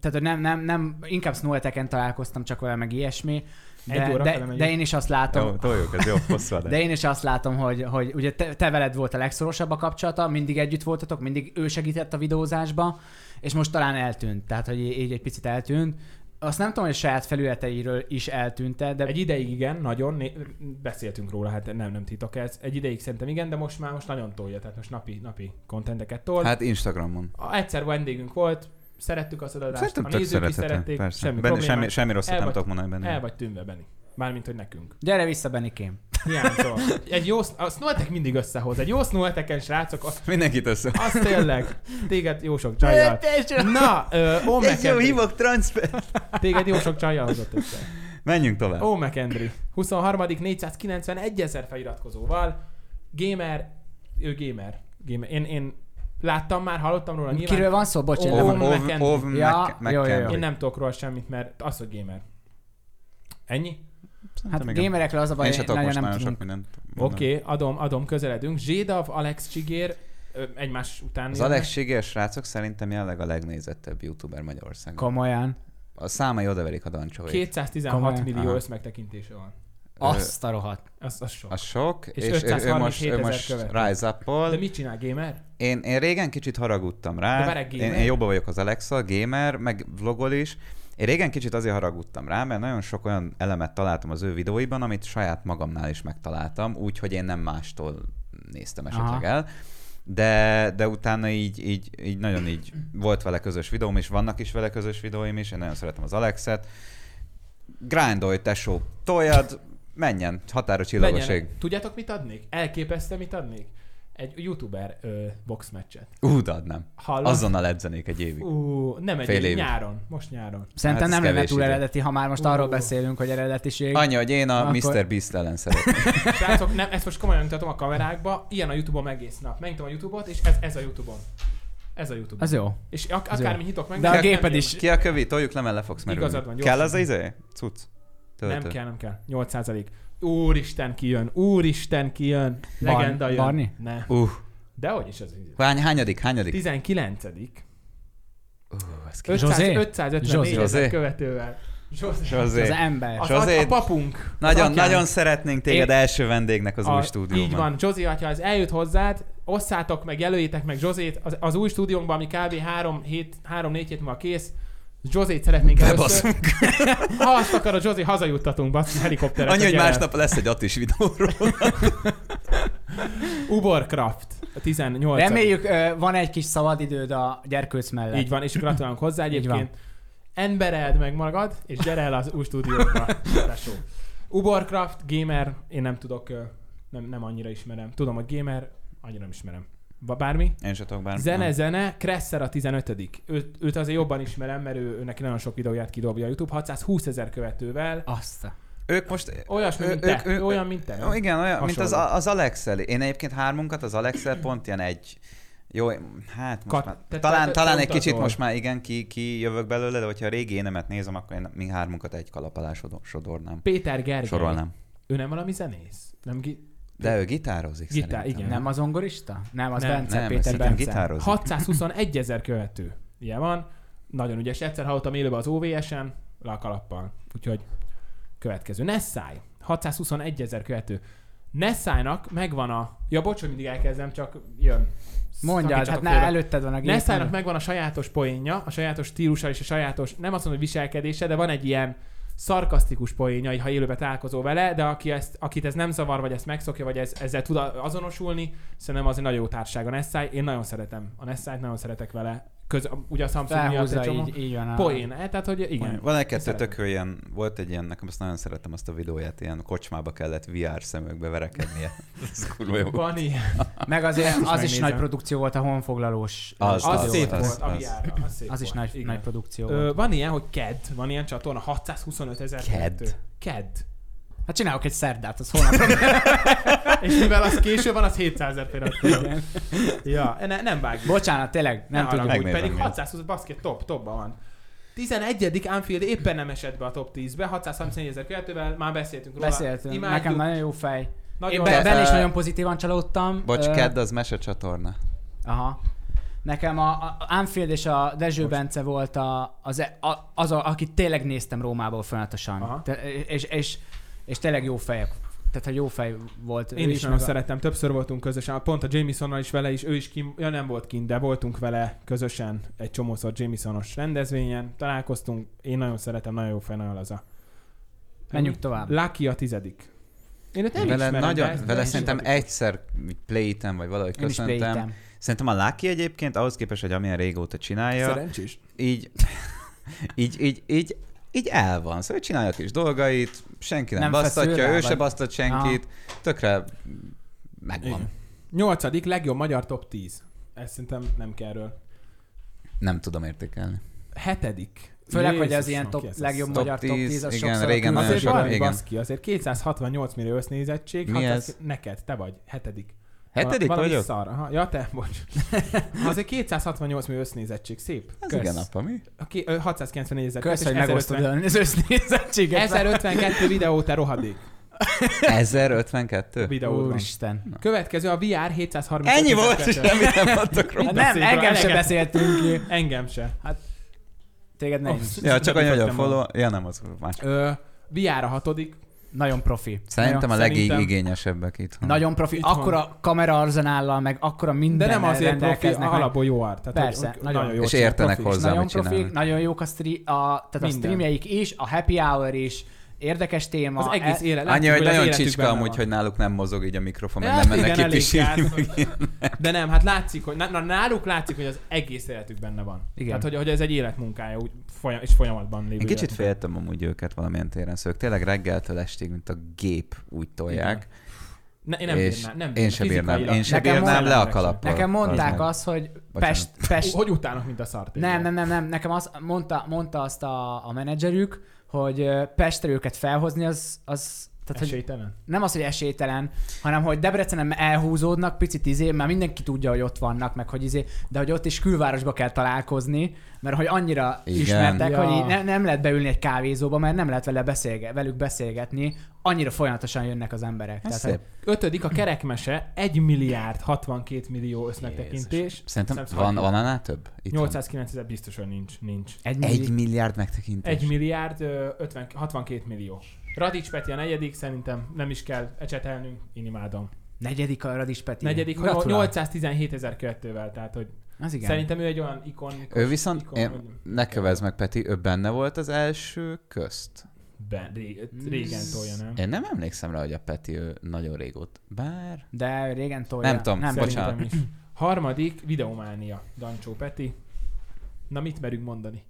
Tehát, hogy nem, nem, nem, inkább Snoweteken találkoztam csak vele, meg ilyesmi.
Egy
De,
óra
de,
felemegyünk.
de én is azt látom,
jó, toljuk, ez jó, hosszú adás.
de én is azt látom, hogy, hogy ugye te, te veled volt a legszorosabb a kapcsolata, mindig együtt voltatok, mindig ő segített a videózásba, és most talán eltűnt, tehát hogy így egy picit eltűnt. Azt nem tudom, hogy a saját felületeiről is eltűnte, de
Egy ideig igen, nagyon, né- beszéltünk róla, hát nem, nem titok ez. Egy ideig szerintem igen, de most már most nagyon tolja, tehát most napi, napi kontenteket tol. Hát,
Hát Instagramon.
egyszer vendégünk volt, szerettük az adást,
Szerintem
a
tök
nézők is
szeretetlen,
szerették,
persze.
semmi
Benny,
probléma.
semmi, semmi rosszat
El
nem
vagy-
tudok mondani
El
benne.
vagy tűnve, Benny. Mármint, hogy nekünk.
gyere vissza, Benikém.
Hiányzol. Egy jó, sz- a snowtek mindig összehoz. Egy jó snowteken, srácok, az,
Mindenkit össze.
az tényleg. Téged jó sok csajjal. Na, ö, Ó McEndry.
transfer.
Téged jó sok csajjal hozott össze.
Menjünk tovább.
Ó McEndry. 23. 491 ezer feliratkozóval. Gamer. Ő gamer. gamer. Én, én láttam már, hallottam róla nyilván.
Kiről van szó? Bocs, én
Ó,
nem- hát
ó, McKenzie.
Ov
Ja, jó, jó, jó.
Én nem tudok róla semmit, mert az, hogy gamer. Ennyi?
Hát gamerekről az a baj,
Én se
nagyon
tudok most
nem
nagyon
tudunk.
sok mindent. mondani.
Oké, okay, adom, adom, közeledünk. Zsédav, Alex Csigér, ö, egymás után.
Az
jönnek.
Alex Siger srácok szerintem jelenleg a legnézettebb youtuber Magyarországon.
Komolyan.
A számai odaverik a dancsolyt.
216
Komolyan.
millió
Aha.
összmegtekintése van.
Azt a
hát
rohadt.
Az, az sok.
A sok, és,
És
és ő- ő,
537
most, ő
ezer
most
követő.
Rise up
De mit csinál gamer?
én, én régen kicsit haragudtam
De
rá.
várj,
Én,
gamer?
én jobban vagyok az Alexa, gamer, meg vlogol is. Én régen kicsit azért haragudtam rá, mert nagyon sok olyan elemet találtam az ő videóiban, amit saját magamnál is megtaláltam, úgyhogy én nem mástól néztem esetleg
Aha.
el. De, de utána így, így, így nagyon így volt vele közös videóm, és vannak is vele közös videóim is, én nagyon szeretem az Alexet. Grindolt, tesó, toljad, Menjen, határa csillagoség.
Menjen. Tudjátok, mit adnék? Elképesztő, mit adnék? Egy youtuber ö, boxmeccset.
Úgy adnám.
Hallod?
Azonnal edzenék egy évig.
Ú, nem egy
Fél
év,
évig.
nyáron, most nyáron.
Szerintem
Hát ez
nem lenne
kevés
túl
idő.
eredeti, ha már most
Ú.
arról beszélünk, hogy eredetiség.
Annyi, hogy én a
Akkor-
Mr. Beast ellen szeretem.
Srácok, nem, ezt most komolyan mutatom a kamerákba, ilyen a Youtube-om egész nap. Megnyitom a Youtube-ot, és ez, ez a Youtube-om. Ez a Youtube.
Az jó.
És ak-
az jó.
akármi nyitok meg.
De a
nem
géped
jön.
is.
Ki a kövi? Toljuk le, mert le fogsz merülni.
Igazad van, gyorsan.
Kell az az izé? Cucc. Töltő.
Nem kell, nem kell. 8 százalék. Úristen kijön, úristen kijön. Legenda
Barn-
jön.
Barni?
Ne.
Uh,
Dehogy is az.
hány, hányadik, hányadik?
19.
Uh, ez ki-
José?
500, 554
José?
ezer követővel. José.
Az
Zsozé.
ember.
Az
José.
a, a papunk. Az
Nagyon,
atyánk.
nagyon szeretnénk téged
Én-
első vendégnek az
A-
új stúdióban.
Így van, Jozi, ha ez eljut hozzád, osszátok meg, jelöljétek meg Jozét az, az új stúdiónkban, ami kb. 3 hét, 3 4 hét múlva kész. Josét szeretnénk először.
Bebaszunk.
Ha azt akarod, Jozi, hazajuttatunk, basz, helikopteret.
Annyi, hogy másnap lesz egy Attis videóról.
Uborcraft, a 18.
Reméljük, ö, van egy kis szabadidőd a gyerkőc mellett.
Így van, és gratulálunk hozzá
van.
egyébként. Embereld meg magad, és gyere el az új stúdióba. tesó. Uborcraft, gamer, én nem tudok, ö, nem, nem annyira ismerem. Tudom, hogy gamer, annyira nem ismerem. Ba- Bármi?
Én se tudok bármi.
Zene, zene, Kresser a 15 őt, őt azért jobban ismerem, mert ő, ő neki nagyon sok videóját kidobja a YouTube, 620 ezer követővel.
Azt. a-
Ők most...
Olyasmi,
Ő-
mint
ők-
te.
ők-
olyan, mint te.
Ó, igen, olyan, mint az,
Hasonló.
az Alexel. Én egyébként hármunkat, az Alexel pont ilyen egy... Jó, hát most
Kat-
már,
te-
talán,
te-
talán
te
egy kicsit
utazol.
most már igen, ki, ki jövök belőle, de hogyha a régi énemet nézem, akkor én mi hármunkat egy kalap alá sodor- sodornám.
Péter Gergely.
Sorolnám.
Ő nem valami zenész? Nem gi-
De ő gitározik
Gitár,
szerintem.
igen.
Nem az ongorista? Nem, az
Nem.
Bence,
Nem,
Péter
szerintem
Bence.
gitározik.
621 ezer követő. Ilyen van. Nagyon ügyes. Egyszer hallottam élőben az OVS-en, le a kalappal. Úgyhogy következő. Nessai. 621 ezer követő. Nessájnak megvan a... Ja, bocs, hogy mindig elkezdem, csak jön.
Mondjad, hát
Szakítsatok
ne,
félbe.
előtted van a gép.
Nessának megvan a sajátos poénja, a sajátos stílusa és a sajátos, nem azt mondom, hogy viselkedése, de van egy ilyen szarkasztikus poénja, így, ha élőbe találkozol vele, de aki ezt, akit ez nem zavar, vagy ezt megszokja, vagy ez, ezzel tud a- azonosulni, szerintem az egy nagyon jó társág a Nessai. Én nagyon szeretem a Nessai, nagyon szeretek vele. Köz, ugye a Samsung miatt egy
Felhúzza,
csomó.
így, így van. a-
Poén, Eh, tehát hogy igen.
Van egy kettő
Szeretem.
tök jó ilyen, volt egy ilyen, nekem azt nagyon szeretem azt a videóját, ilyen kocsmába kellett VR szemökbe verekednie. Ez kurva jó.
Van ilyen.
Meg azért
is
az is
megnézem.
nagy produkció volt a honfoglalós.
Az,
stúdió.
Az szép
az,
volt, a
az.
VR, az szép
Az is
volt.
nagy,
Igen.
nagy produkció
Ö,
volt.
van ilyen, hogy KED, van ilyen csatorna, 625 ezer
Ked?
KED.
Hát csinálok egy szerdát, az holnap.
És mivel az késő van, az 700 ezer feliratkozó. ja, ne, nem vágjuk.
Bocsánat, tényleg, nem
Nem,
tudom.
nem
haragudj.
tudjuk,
Megnézem
pedig
miért.
620 basket top, topban van. 11. Anfield éppen nem esett be a top 10-be, 634 ezer követővel, már beszéltünk róla.
Beszéltünk,
Imádjuk,
nekem nagyon jó fej.
nagyon
Én
Te-
be,
be...
benne is
ö,
nagyon pozitívan csalódtam.
Bocs,
Ö,
Kedd az mesecsatorna.
Aha. Nekem a, a Anfield és a Dezső Most. Bence volt a, az, e- a, az a, akit tényleg néztem Rómából
Aha.
folyamatosan. Te, és, és, és tényleg jó fejek. Tehát, ha jó fej volt. ő
Én is
meg
nagyon
a-
szerettem, többször voltunk közösen, pont a Jamisonnal is vele is, ő is kim, ja nem volt kint, de voltunk vele közösen egy csomószor Jamisonos rendezvényen, találkoztunk, én nagyon szeretem, nagyon jó fej, nagyon laza.
Menjünk tovább.
Lucky a tizedik. Én őt nem
Vele,
ismerem, de ez-
nagyon,
de
vele
ez
szerintem
szimpatikus.
egyszer playtem, vagy valahogy
Én is
köszöntem.
playtem.
Szerintem a Lucky egyébként ahhoz képest, hogy amilyen régóta csinálja,
Szerencsés.
így, így, így, így, így el van. Szóval ő csinálja a kis dolgait, senki nem,
Nem
nem
feszül
basztatja,
rá,
ő
vagy-
se basztat senkit, tökre megvan.
Igen. Nyolcadik legjobb magyar top 10. Ezt szerintem nem kell erről.
Nem tudom értékelni.
Hetedik.
Főleg, hogy az
Jézusom,
ilyen top,
ki ez
legjobb
az
Top
magyar top
10,
10, az
igen,
sokszor
régen
a
nagyon
Azért
különböző-
sok-
valami
igen.
baszki, azért 268 millió össznézettség.
Mi
hát
ez?
az Neked, te vagy, hetedik.
Hetedik
Valami
vagyok?
Szar. Aha, ja, te, bocs. azért 268 millió össznézettség, szép.
Ez
Kösz.
igen apa, mi?
A ki- ö, 694 ezer
Kösz, hogy
kép, és
megosztod az össznézettséget.
1052 videó, te rohadék.
1052?
Videó.
Úristen.
Következő a VR 730.
Ennyi volt, és semmit nem adtak róla.
Hát nem,
beszéljünk róla,
engem sem
eleget.
beszéltünk ki.
Engem se.
Téged nem.
Absz-
Ja, csak annyi, hogy a
Bemutattam
follow... Ja, nem az más.
Ö, VR a hatodik.
Nagyon profi.
Szerintem a
szerintem-
legigényesebbek itt.
Nagyon profi,
Itthon.
akkora kamerarzenállal, meg akkora minden
De nem azért profi, alapból jó art. Tehát
Persze,
hogy-
nagyon.
És
csinál,
értenek
profi.
hozzá,
Nagyon
mit csinálnak.
profik, nagyon jók a, stri- a, tehát a
Minden.
streamjeik is, a happy hour is, érdekes téma.
Az egész
E-
élet.
Annyi, hogy
látjuk, az
nagyon
életükben
csicska
benne
amúgy,
van.
hogy náluk nem mozog így a mikrofon, meg
Hát
nem mennek
igen,
ki
elég
pisilni.
gáz. De nem, hát látszik, hogy na, na, náluk látszik, hogy az egész életük benne van.
Igen.
Tehát, hogy, hogy ez egy életmunkája, úgy folyam, és folyamatban lévő
Én kicsit
életmunkája.
féltem amúgy őket valamilyen téren, szóval ők tényleg reggeltől estig, mint a gép úgy tolják.
Ne, én nem
és
bírnám, nem
Én
bírnám.
se bírnám,
Fizikailag.
én se
Nekem
bírnám
mond-
le a kalappal.
Nekem mondták
Bazdmeg.
azt, hogy
Bocsánat.
Pest, Pest,
Hogy utálnak, mint a szart.
Nem, nem, nem, nem. Nekem azt mondta, mondta azt a, a menedzserük, hogy ö, Pestre őket felhozni, az, az tehát, hogy
Esélytelen.
nem az, hogy esélytelen, hanem hogy Debrecenen elhúzódnak picit izé, mert mindenki tudja, hogy ott vannak, meg hogy izé, de hogy ott is külvárosba kell találkozni, mert hogy annyira Igen.
Igen.
ismertek,
Ja.
ja. hogy így ne, nem lehet beülni egy kávézóba, mert nem lehet vele beszélge, velük beszélgetni, annyira folyamatosan jönnek az emberek.
Ez
hogy-
szép.
Ötödik a kerekmese, 1 milliárd 62 millió összmegtekintés.
Szerintem
Szerintem
van,
szóval-
van annál több? Itt van.
809 ezer biztos, hogy nincs. nincs.
egy,
Egy
egy
milliárd megtekintés.
1 milliárd ö, 50, 62 millió. Radics Peti a negyedik, szerintem nem is kell ecsetelnünk, én imádom.
negyedik a Radis Peti.
Negyedik, hogy
Gratulál.
817 ezer kettővel, tehát hogy
Az igen.
Igen. Szerintem ő egy olyan ikon.
Ő viszont,
ikon,
én,
hogy-
ne kövezd meg Peti, ő benne volt az első közt.
Ben, ré, régen tolja, nem?
Én nem emlékszem rá, hogy a Peti ő nagyon régóta. Bár...
De régen tolja.
Nem tudom,
nem
bocsánat.
Szerintem is. Harmadik, Videománia, Dancsó Peti. Na mit merünk mondani?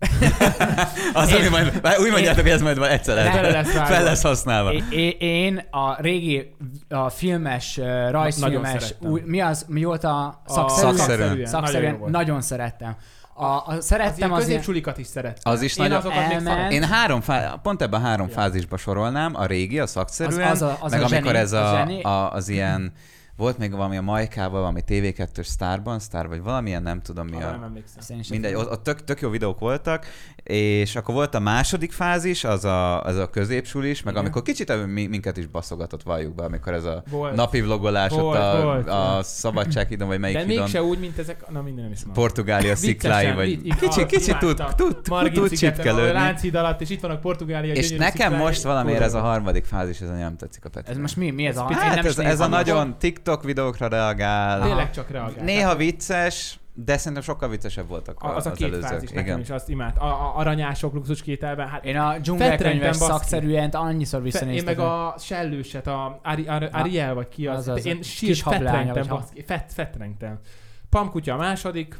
Az, ami majd, bár úgy mondjátok, hogy ez majd van egyszer
Ne.
el-
Tele lesz vágva.
fel lesz használva.
É- é- én a régi a filmes, ö,
nagyon
rajzfilmes,
szerettem.
új, mi az, mi volt a
Szakszerűen.
szakszerű?
Nagyon
Szakszerűen
jó
nagyon,
volt.
nagyon szerettem. A, a,
Az ilyen
szerettem az ilyen,
középcsulikat is szerettem.
Az is
Én
nagyon...
azokat még
elment.
szarom.
Én három fá... pont ebben három
Ja.
fázisba sorolnám, a régi, a
az,
szakszerűen,
az, a, az
meg
a
amikor
zseni,
ez a,
zseni.
a, az ilyen, volt még valami a Majkával, valami TV2-ös sztárban, sztár vagy valamilyen, nem tudom mi
Arra nem
a...
emlékszem.
Azt én is
Mindegy,
tudom.
ott, ott tök, tök jó videók voltak, és akkor volt a második fázis, az a, az a középsulis, meg
Igen.
amikor kicsit ö, mi- minket is baszogatott, valljuk be, amikor ez a
Volt.
napi vlogolás
Volt,
ott a,
volt,
a
volt.
szabadsághidon, vagy melyik
De
hidon.
mégse úgy, mint ezek, na minden nem is mondom.
Portugália sziklái,
Viccesen,
vagy
vic- igen,
kicsit,
azt
kicsit tud,
imádtam.
tud, tud,
Margit
tud
szigeten, ahol a
csipkelődni.
Lánchíd alatt, és itt vannak Portugália.
És
gyönyörű
nekem
sziklái.
most valamiért ez a
Tudom.
harmadik fázis, ez annyira nem tetszik a Petinek.
Ez most mi, mi ez a... én
Hát
nem is
ez, ez a
nézem.
nagyon TikTok videókra reagál.
Aha.
Tényleg csak reagál.
Néha vicces, de szerintem sokkal viccesebb voltak
A- az a két
előzők.
fázis, nekem
Igen.
is azt imád. A, a aranyások luxus kételben, hát
Én a
Fetrengtem,
dzsungelkönyves
baszki.
szakszerűen annyiszor
fe, én
visszanéztem.
meg a sellőset, a Ari, Ari, Ariel vagy ki az,
az az,
én
a
sírt,
kis hablánya,
fetrengtem,
vagy ha-
baszki, fet, fetrengtem. Pamkutya a második,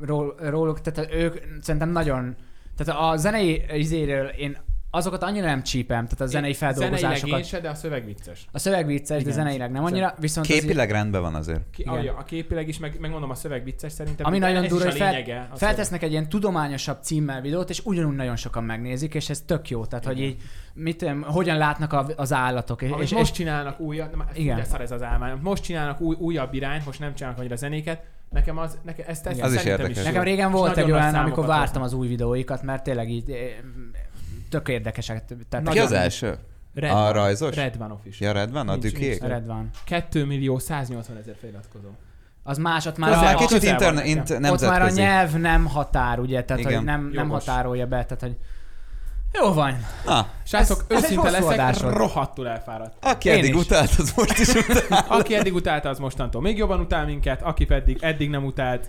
Ról, róluk, tehát ők szerintem nagyon... Tehát a zenei izéről én azokat annyira nem csípem, tehát a zenei
Zeneileg én
feldolgozásokat.
se, de a szöveg vicces.
A szöveg vicces, de
Igen.
zeneileg nem annyira, viszont az-
Képileg rendben van azért.
Ki,
Igen.
ahogy a, a képileg is, meg, megmondom a szöveg vicces szerintem.
Ami
de
nagyon
ez
durva,
is
hogy
a
fel-
lényege. a szöveg.
Feltesznek egy ilyen tudományosabb címmel videót, és ugyanúgy nagyon sokan megnézik, és ez tök jó. Tehát, hogy így, mit, tudom, hogyan látnak a, az állatok. És,
Amit
és,
most
és
csinálnak újat, na,
Igen.
igen. de szar ez az álmány. Most csinálnak új, újabb irány, most nem csinálnak annyira zenéket. Nekem az, nekem ezt, ezt
Igen. Az is
szerintem
érdekes.
jó.
nekem régen
És
volt
nagyon
egy
nagy
olyan,
számokat
amikor vártam
hoznak.
az új videóikat, mert tényleg így eh, tök érdekesek. Tehát
Ki
Nagyon-
az első?
Red
A
van.
rajzos?
Red van official.
Ja, rendben, a
Nincs, nincs.
tükék?
Red van.
2 millió 180 ezer feliratkozó.
Az más, ott már,
Az
Közel-
már
a,
Közel
kicsit
van
interne-
nekem.
int-
ott már a
nemzetközi.
nyelv nem határ, ugye? Tehát,
Igen.
hogy nem, nem
Jogos.
határolja be. Tehát, hogy jó van.
Na,
Srácok,
ez egy
őszinte
hosszú
leszek,
adás volt.
rohadtul elfáradt.
aki
Én
eddig
is.
utált, az most is utál.
Aki eddig utálta, az mostantól még jobban utál minket, aki pedig eddig nem utált,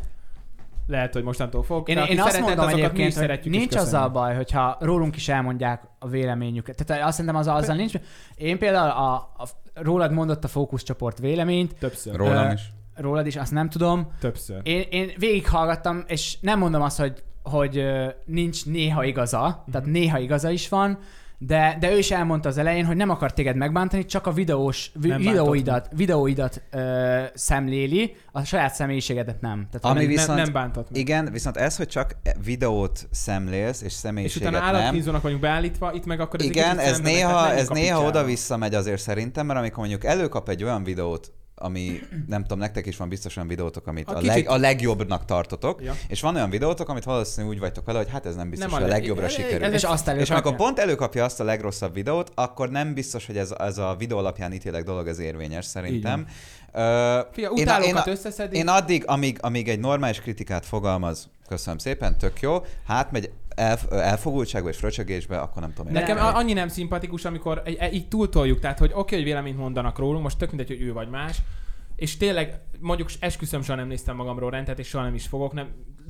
lehet, hogy mostantól fog.
Én,
de aki
én azt
szeretett,
mondom
azokat mi is
egyébként, hogy
szeretjük és
nincs azzal
köszönjük.
baj, hogyha rólunk is elmondják a véleményüket. Tehát azt szerintem azzal, azzal nincs. Én például a, a, rólad mondott a fókuszcsoport véleményt,
Többször,
Rólam
Ö,
is.
rólad is, azt nem tudom.
többször.
Én, én végighallgattam, és nem mondom azt, hogy, hogy ö, nincs néha igaza, uh-huh.
Mhm.
tehát néha igaza is van, de, de ő is elmondta az elején, hogy nem akar téged megbántani, csak a videós, vi,
Nem bántott
videóidat, videóidat ö, szemléli, a saját személyiségedet nem. Tehát,
Ami
nem-
Viszont,
viszont...
nem, nem bántott meg.
igen, viszont ez, hogy csak videót szemlélsz, és
És utána
személyiséget nem,
állatkínzónak vagyunk beállítva, itt meg akkor egy
Igen,
kicsit
ez
szembe megy,
néha,
tehát menjünk
ez
a
néha
picsába.
oda-vissza megy azért szerintem, mert amikor mondjuk előkap egy olyan videót, ami nem tudom, nektek is van biztos olyan videótok, amit
A
a, a,
kicsit-
leg, a legjobbnak tartotok,
Ja.
ja. és van olyan videótok, amit valószínűleg úgy vagytok vele, hogy hát ez nem biztos,
Nem
nem
a
hogy a
leg-
legjobbra
ez- ez-
sikerül.
ez-
és azt
és
előkapja.
amikor pont előkapja azt a legrosszabb videót, akkor nem biztos, hogy ez, ez a videó alapján ítélek dolog, ez érvényes szerintem. Ö,
Fia,
én a- én a-
utálókat összeszedik.
én addig, amíg, amíg egy normális kritikát fogalmaz, köszönöm szépen, tök jó, hát megy el, elfogultságba és fröcsögésbe, akkor nem tudom. én
Nekem
mit
a- annyi nem e- szimpatikus, amikor egy- egy- így túltoljuk, tehát hogy oké, hogy véleményt mondanak rólunk, most tök mindegy, hogy ő vagy más, És tényleg, mondjuk esküszöm, soha nem néztem magamról rendet, és soha nem is fogok. Nem,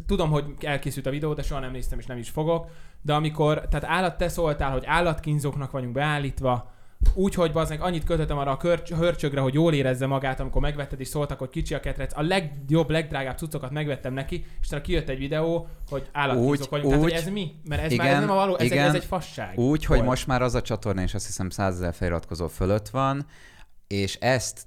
tudom, hogy elkészült a videó, de soha nem néztem, és nem is fogok. De amikor, tehát állat te szóltál, hogy állatkínzóknak vagyunk beállítva, úgy, hogy bazdmeg annyit kötöttem arra a körcs- hörcsögre, hogy jól érezze magát, amikor megvetted, és szóltak, hogy kicsi a ketrec. A legjobb, legdrágább cuccokat megvettem neki, és utána kijött egy videó, hogy állatkínzók
Úgy-
vagyunk. Tehát,
úgy-
hogy ez mi? Mert ez már
igen,
ez nem a való, ez,
igen.
egy, ez egy fasság.
Úgy, hogy
volt.
most már az a csatorna, és azt hiszem 100 ezer feliratkozó fölött van, és ezt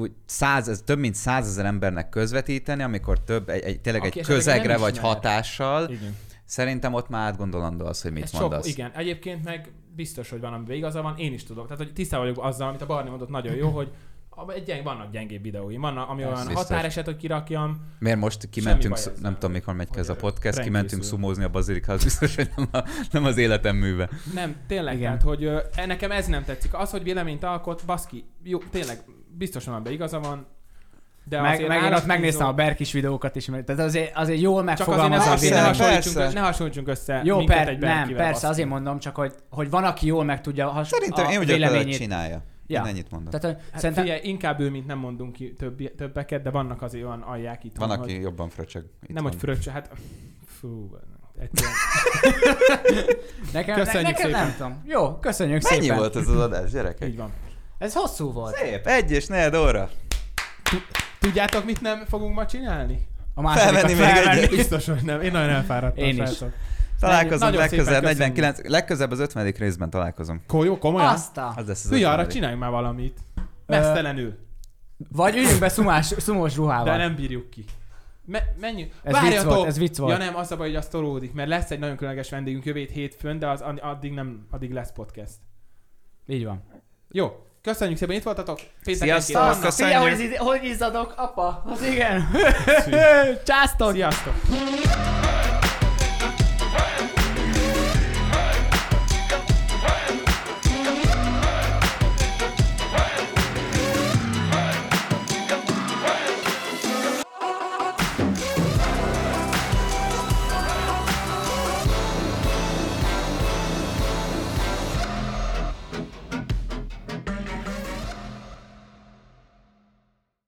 úgy száz, ez több mint százezer embernek közvetíteni, amikor több, egy, egy, tényleg
Aki
egy
esetleg
közegre
nem
vagy
ismer.
hatással,
Igen.
szerintem ott már átgondolandó az, hogy mit
Ez
mondasz.
Sok, igen, egyébként meg biztos, hogy van, amiben igaza van, én is tudok. Tehát, hogy tisztában vagyok azzal, amit a Barni mondott, nagyon jó, hogy a- egy gyeng, vannak gyengébb videóim, vannak, ami olyan
biztos.
határeset, hogy kirakjam.
Miért most
Semmi
kimentünk,
baj
sz-
ezzel.
nem tudom mikor megy ki ez a
Hogy, ö,
podcast,
Frank
kimentünk
készül.
szumózni a bazilika, az biztos, hogy nem, a, nem az életem műve.
Nem, tényleg,
Igen.
Igen. tehát, hogy ö, e- nekem ez nem tetszik. Az, hogy véleményt alkot, baszki, jó, tényleg, biztosan abban igaza van, de
Meg,
azért
meg én ott
állatkínzó-
megnéztem a Berkis videókat is, mert tehát azért, azért jól
Csak azért ne,
megfogalmaz a
azért ne,
vélemény.
persze,
hasonlítsunk,
persze.
össze- ne hasonlítsunk össze
Jó,
minket
per,
egy
nem,
Berkivel,
persze,
baszki.
azért mondom csak, hogy, hogy van, aki jól meg tudja has,
Szerintem
a
én úgy értelem,
véleményét.
csinálja.
Ja.
Ja. Én ennyit mondom.
Tehát, hogy
Hát
szerintem,
figyelj, inkább ő, mint nem mondunk ki többi, többeket, de vannak azért olyan alják itt.
Van, aki jobban fröcsög. Itt
Nem,
van.
hogy fröccsö, hát... Fú, egyszerűen.
nekem,
Köszönjük
nekem
szépen.
nem tudom. Jó, köszönjük
Mennyi
szépen.
volt ez az adás, gyerekek?
Így van.
Ez hosszú volt.
Szép, egy és negyed óra.
Tudjátok, mit nem fogunk ma csinálni?
A
Felvenni még egyet.
Biztos, hogy nem. Én nagyon elfáradtam.
Én is.
srácok.
Találkozunk
Nagyon szépen
legközelebb,
köszönjük.
49, legközelebb az 50. részben találkozom.
Ko- Jó, komolyan? Azt.
Aztán.
Az lesz az
Hülye, arra
50..
csináljunk már valamit. Mesztelenül.
Vagy üljünk be szumás, szumós ruhával.
De nem bírjuk ki. Me- menjünk.
Ez vicc volt, ez vicc volt.
Ja nem, az a baj, hogy az tolódik, mert lesz egy nagyon különleges vendégünk jövő hét hétfőn, de az an- addig nem, addig lesz podcast.
Így van.
Jó, köszönjük szépen, itt voltatok. Pénteken
Sziasztok!
két
Azt
vannak.
Szia,
köszönjük.
hogy, iz- hogy izzadok, apa? Az igen. Császtok!
Sziasztok!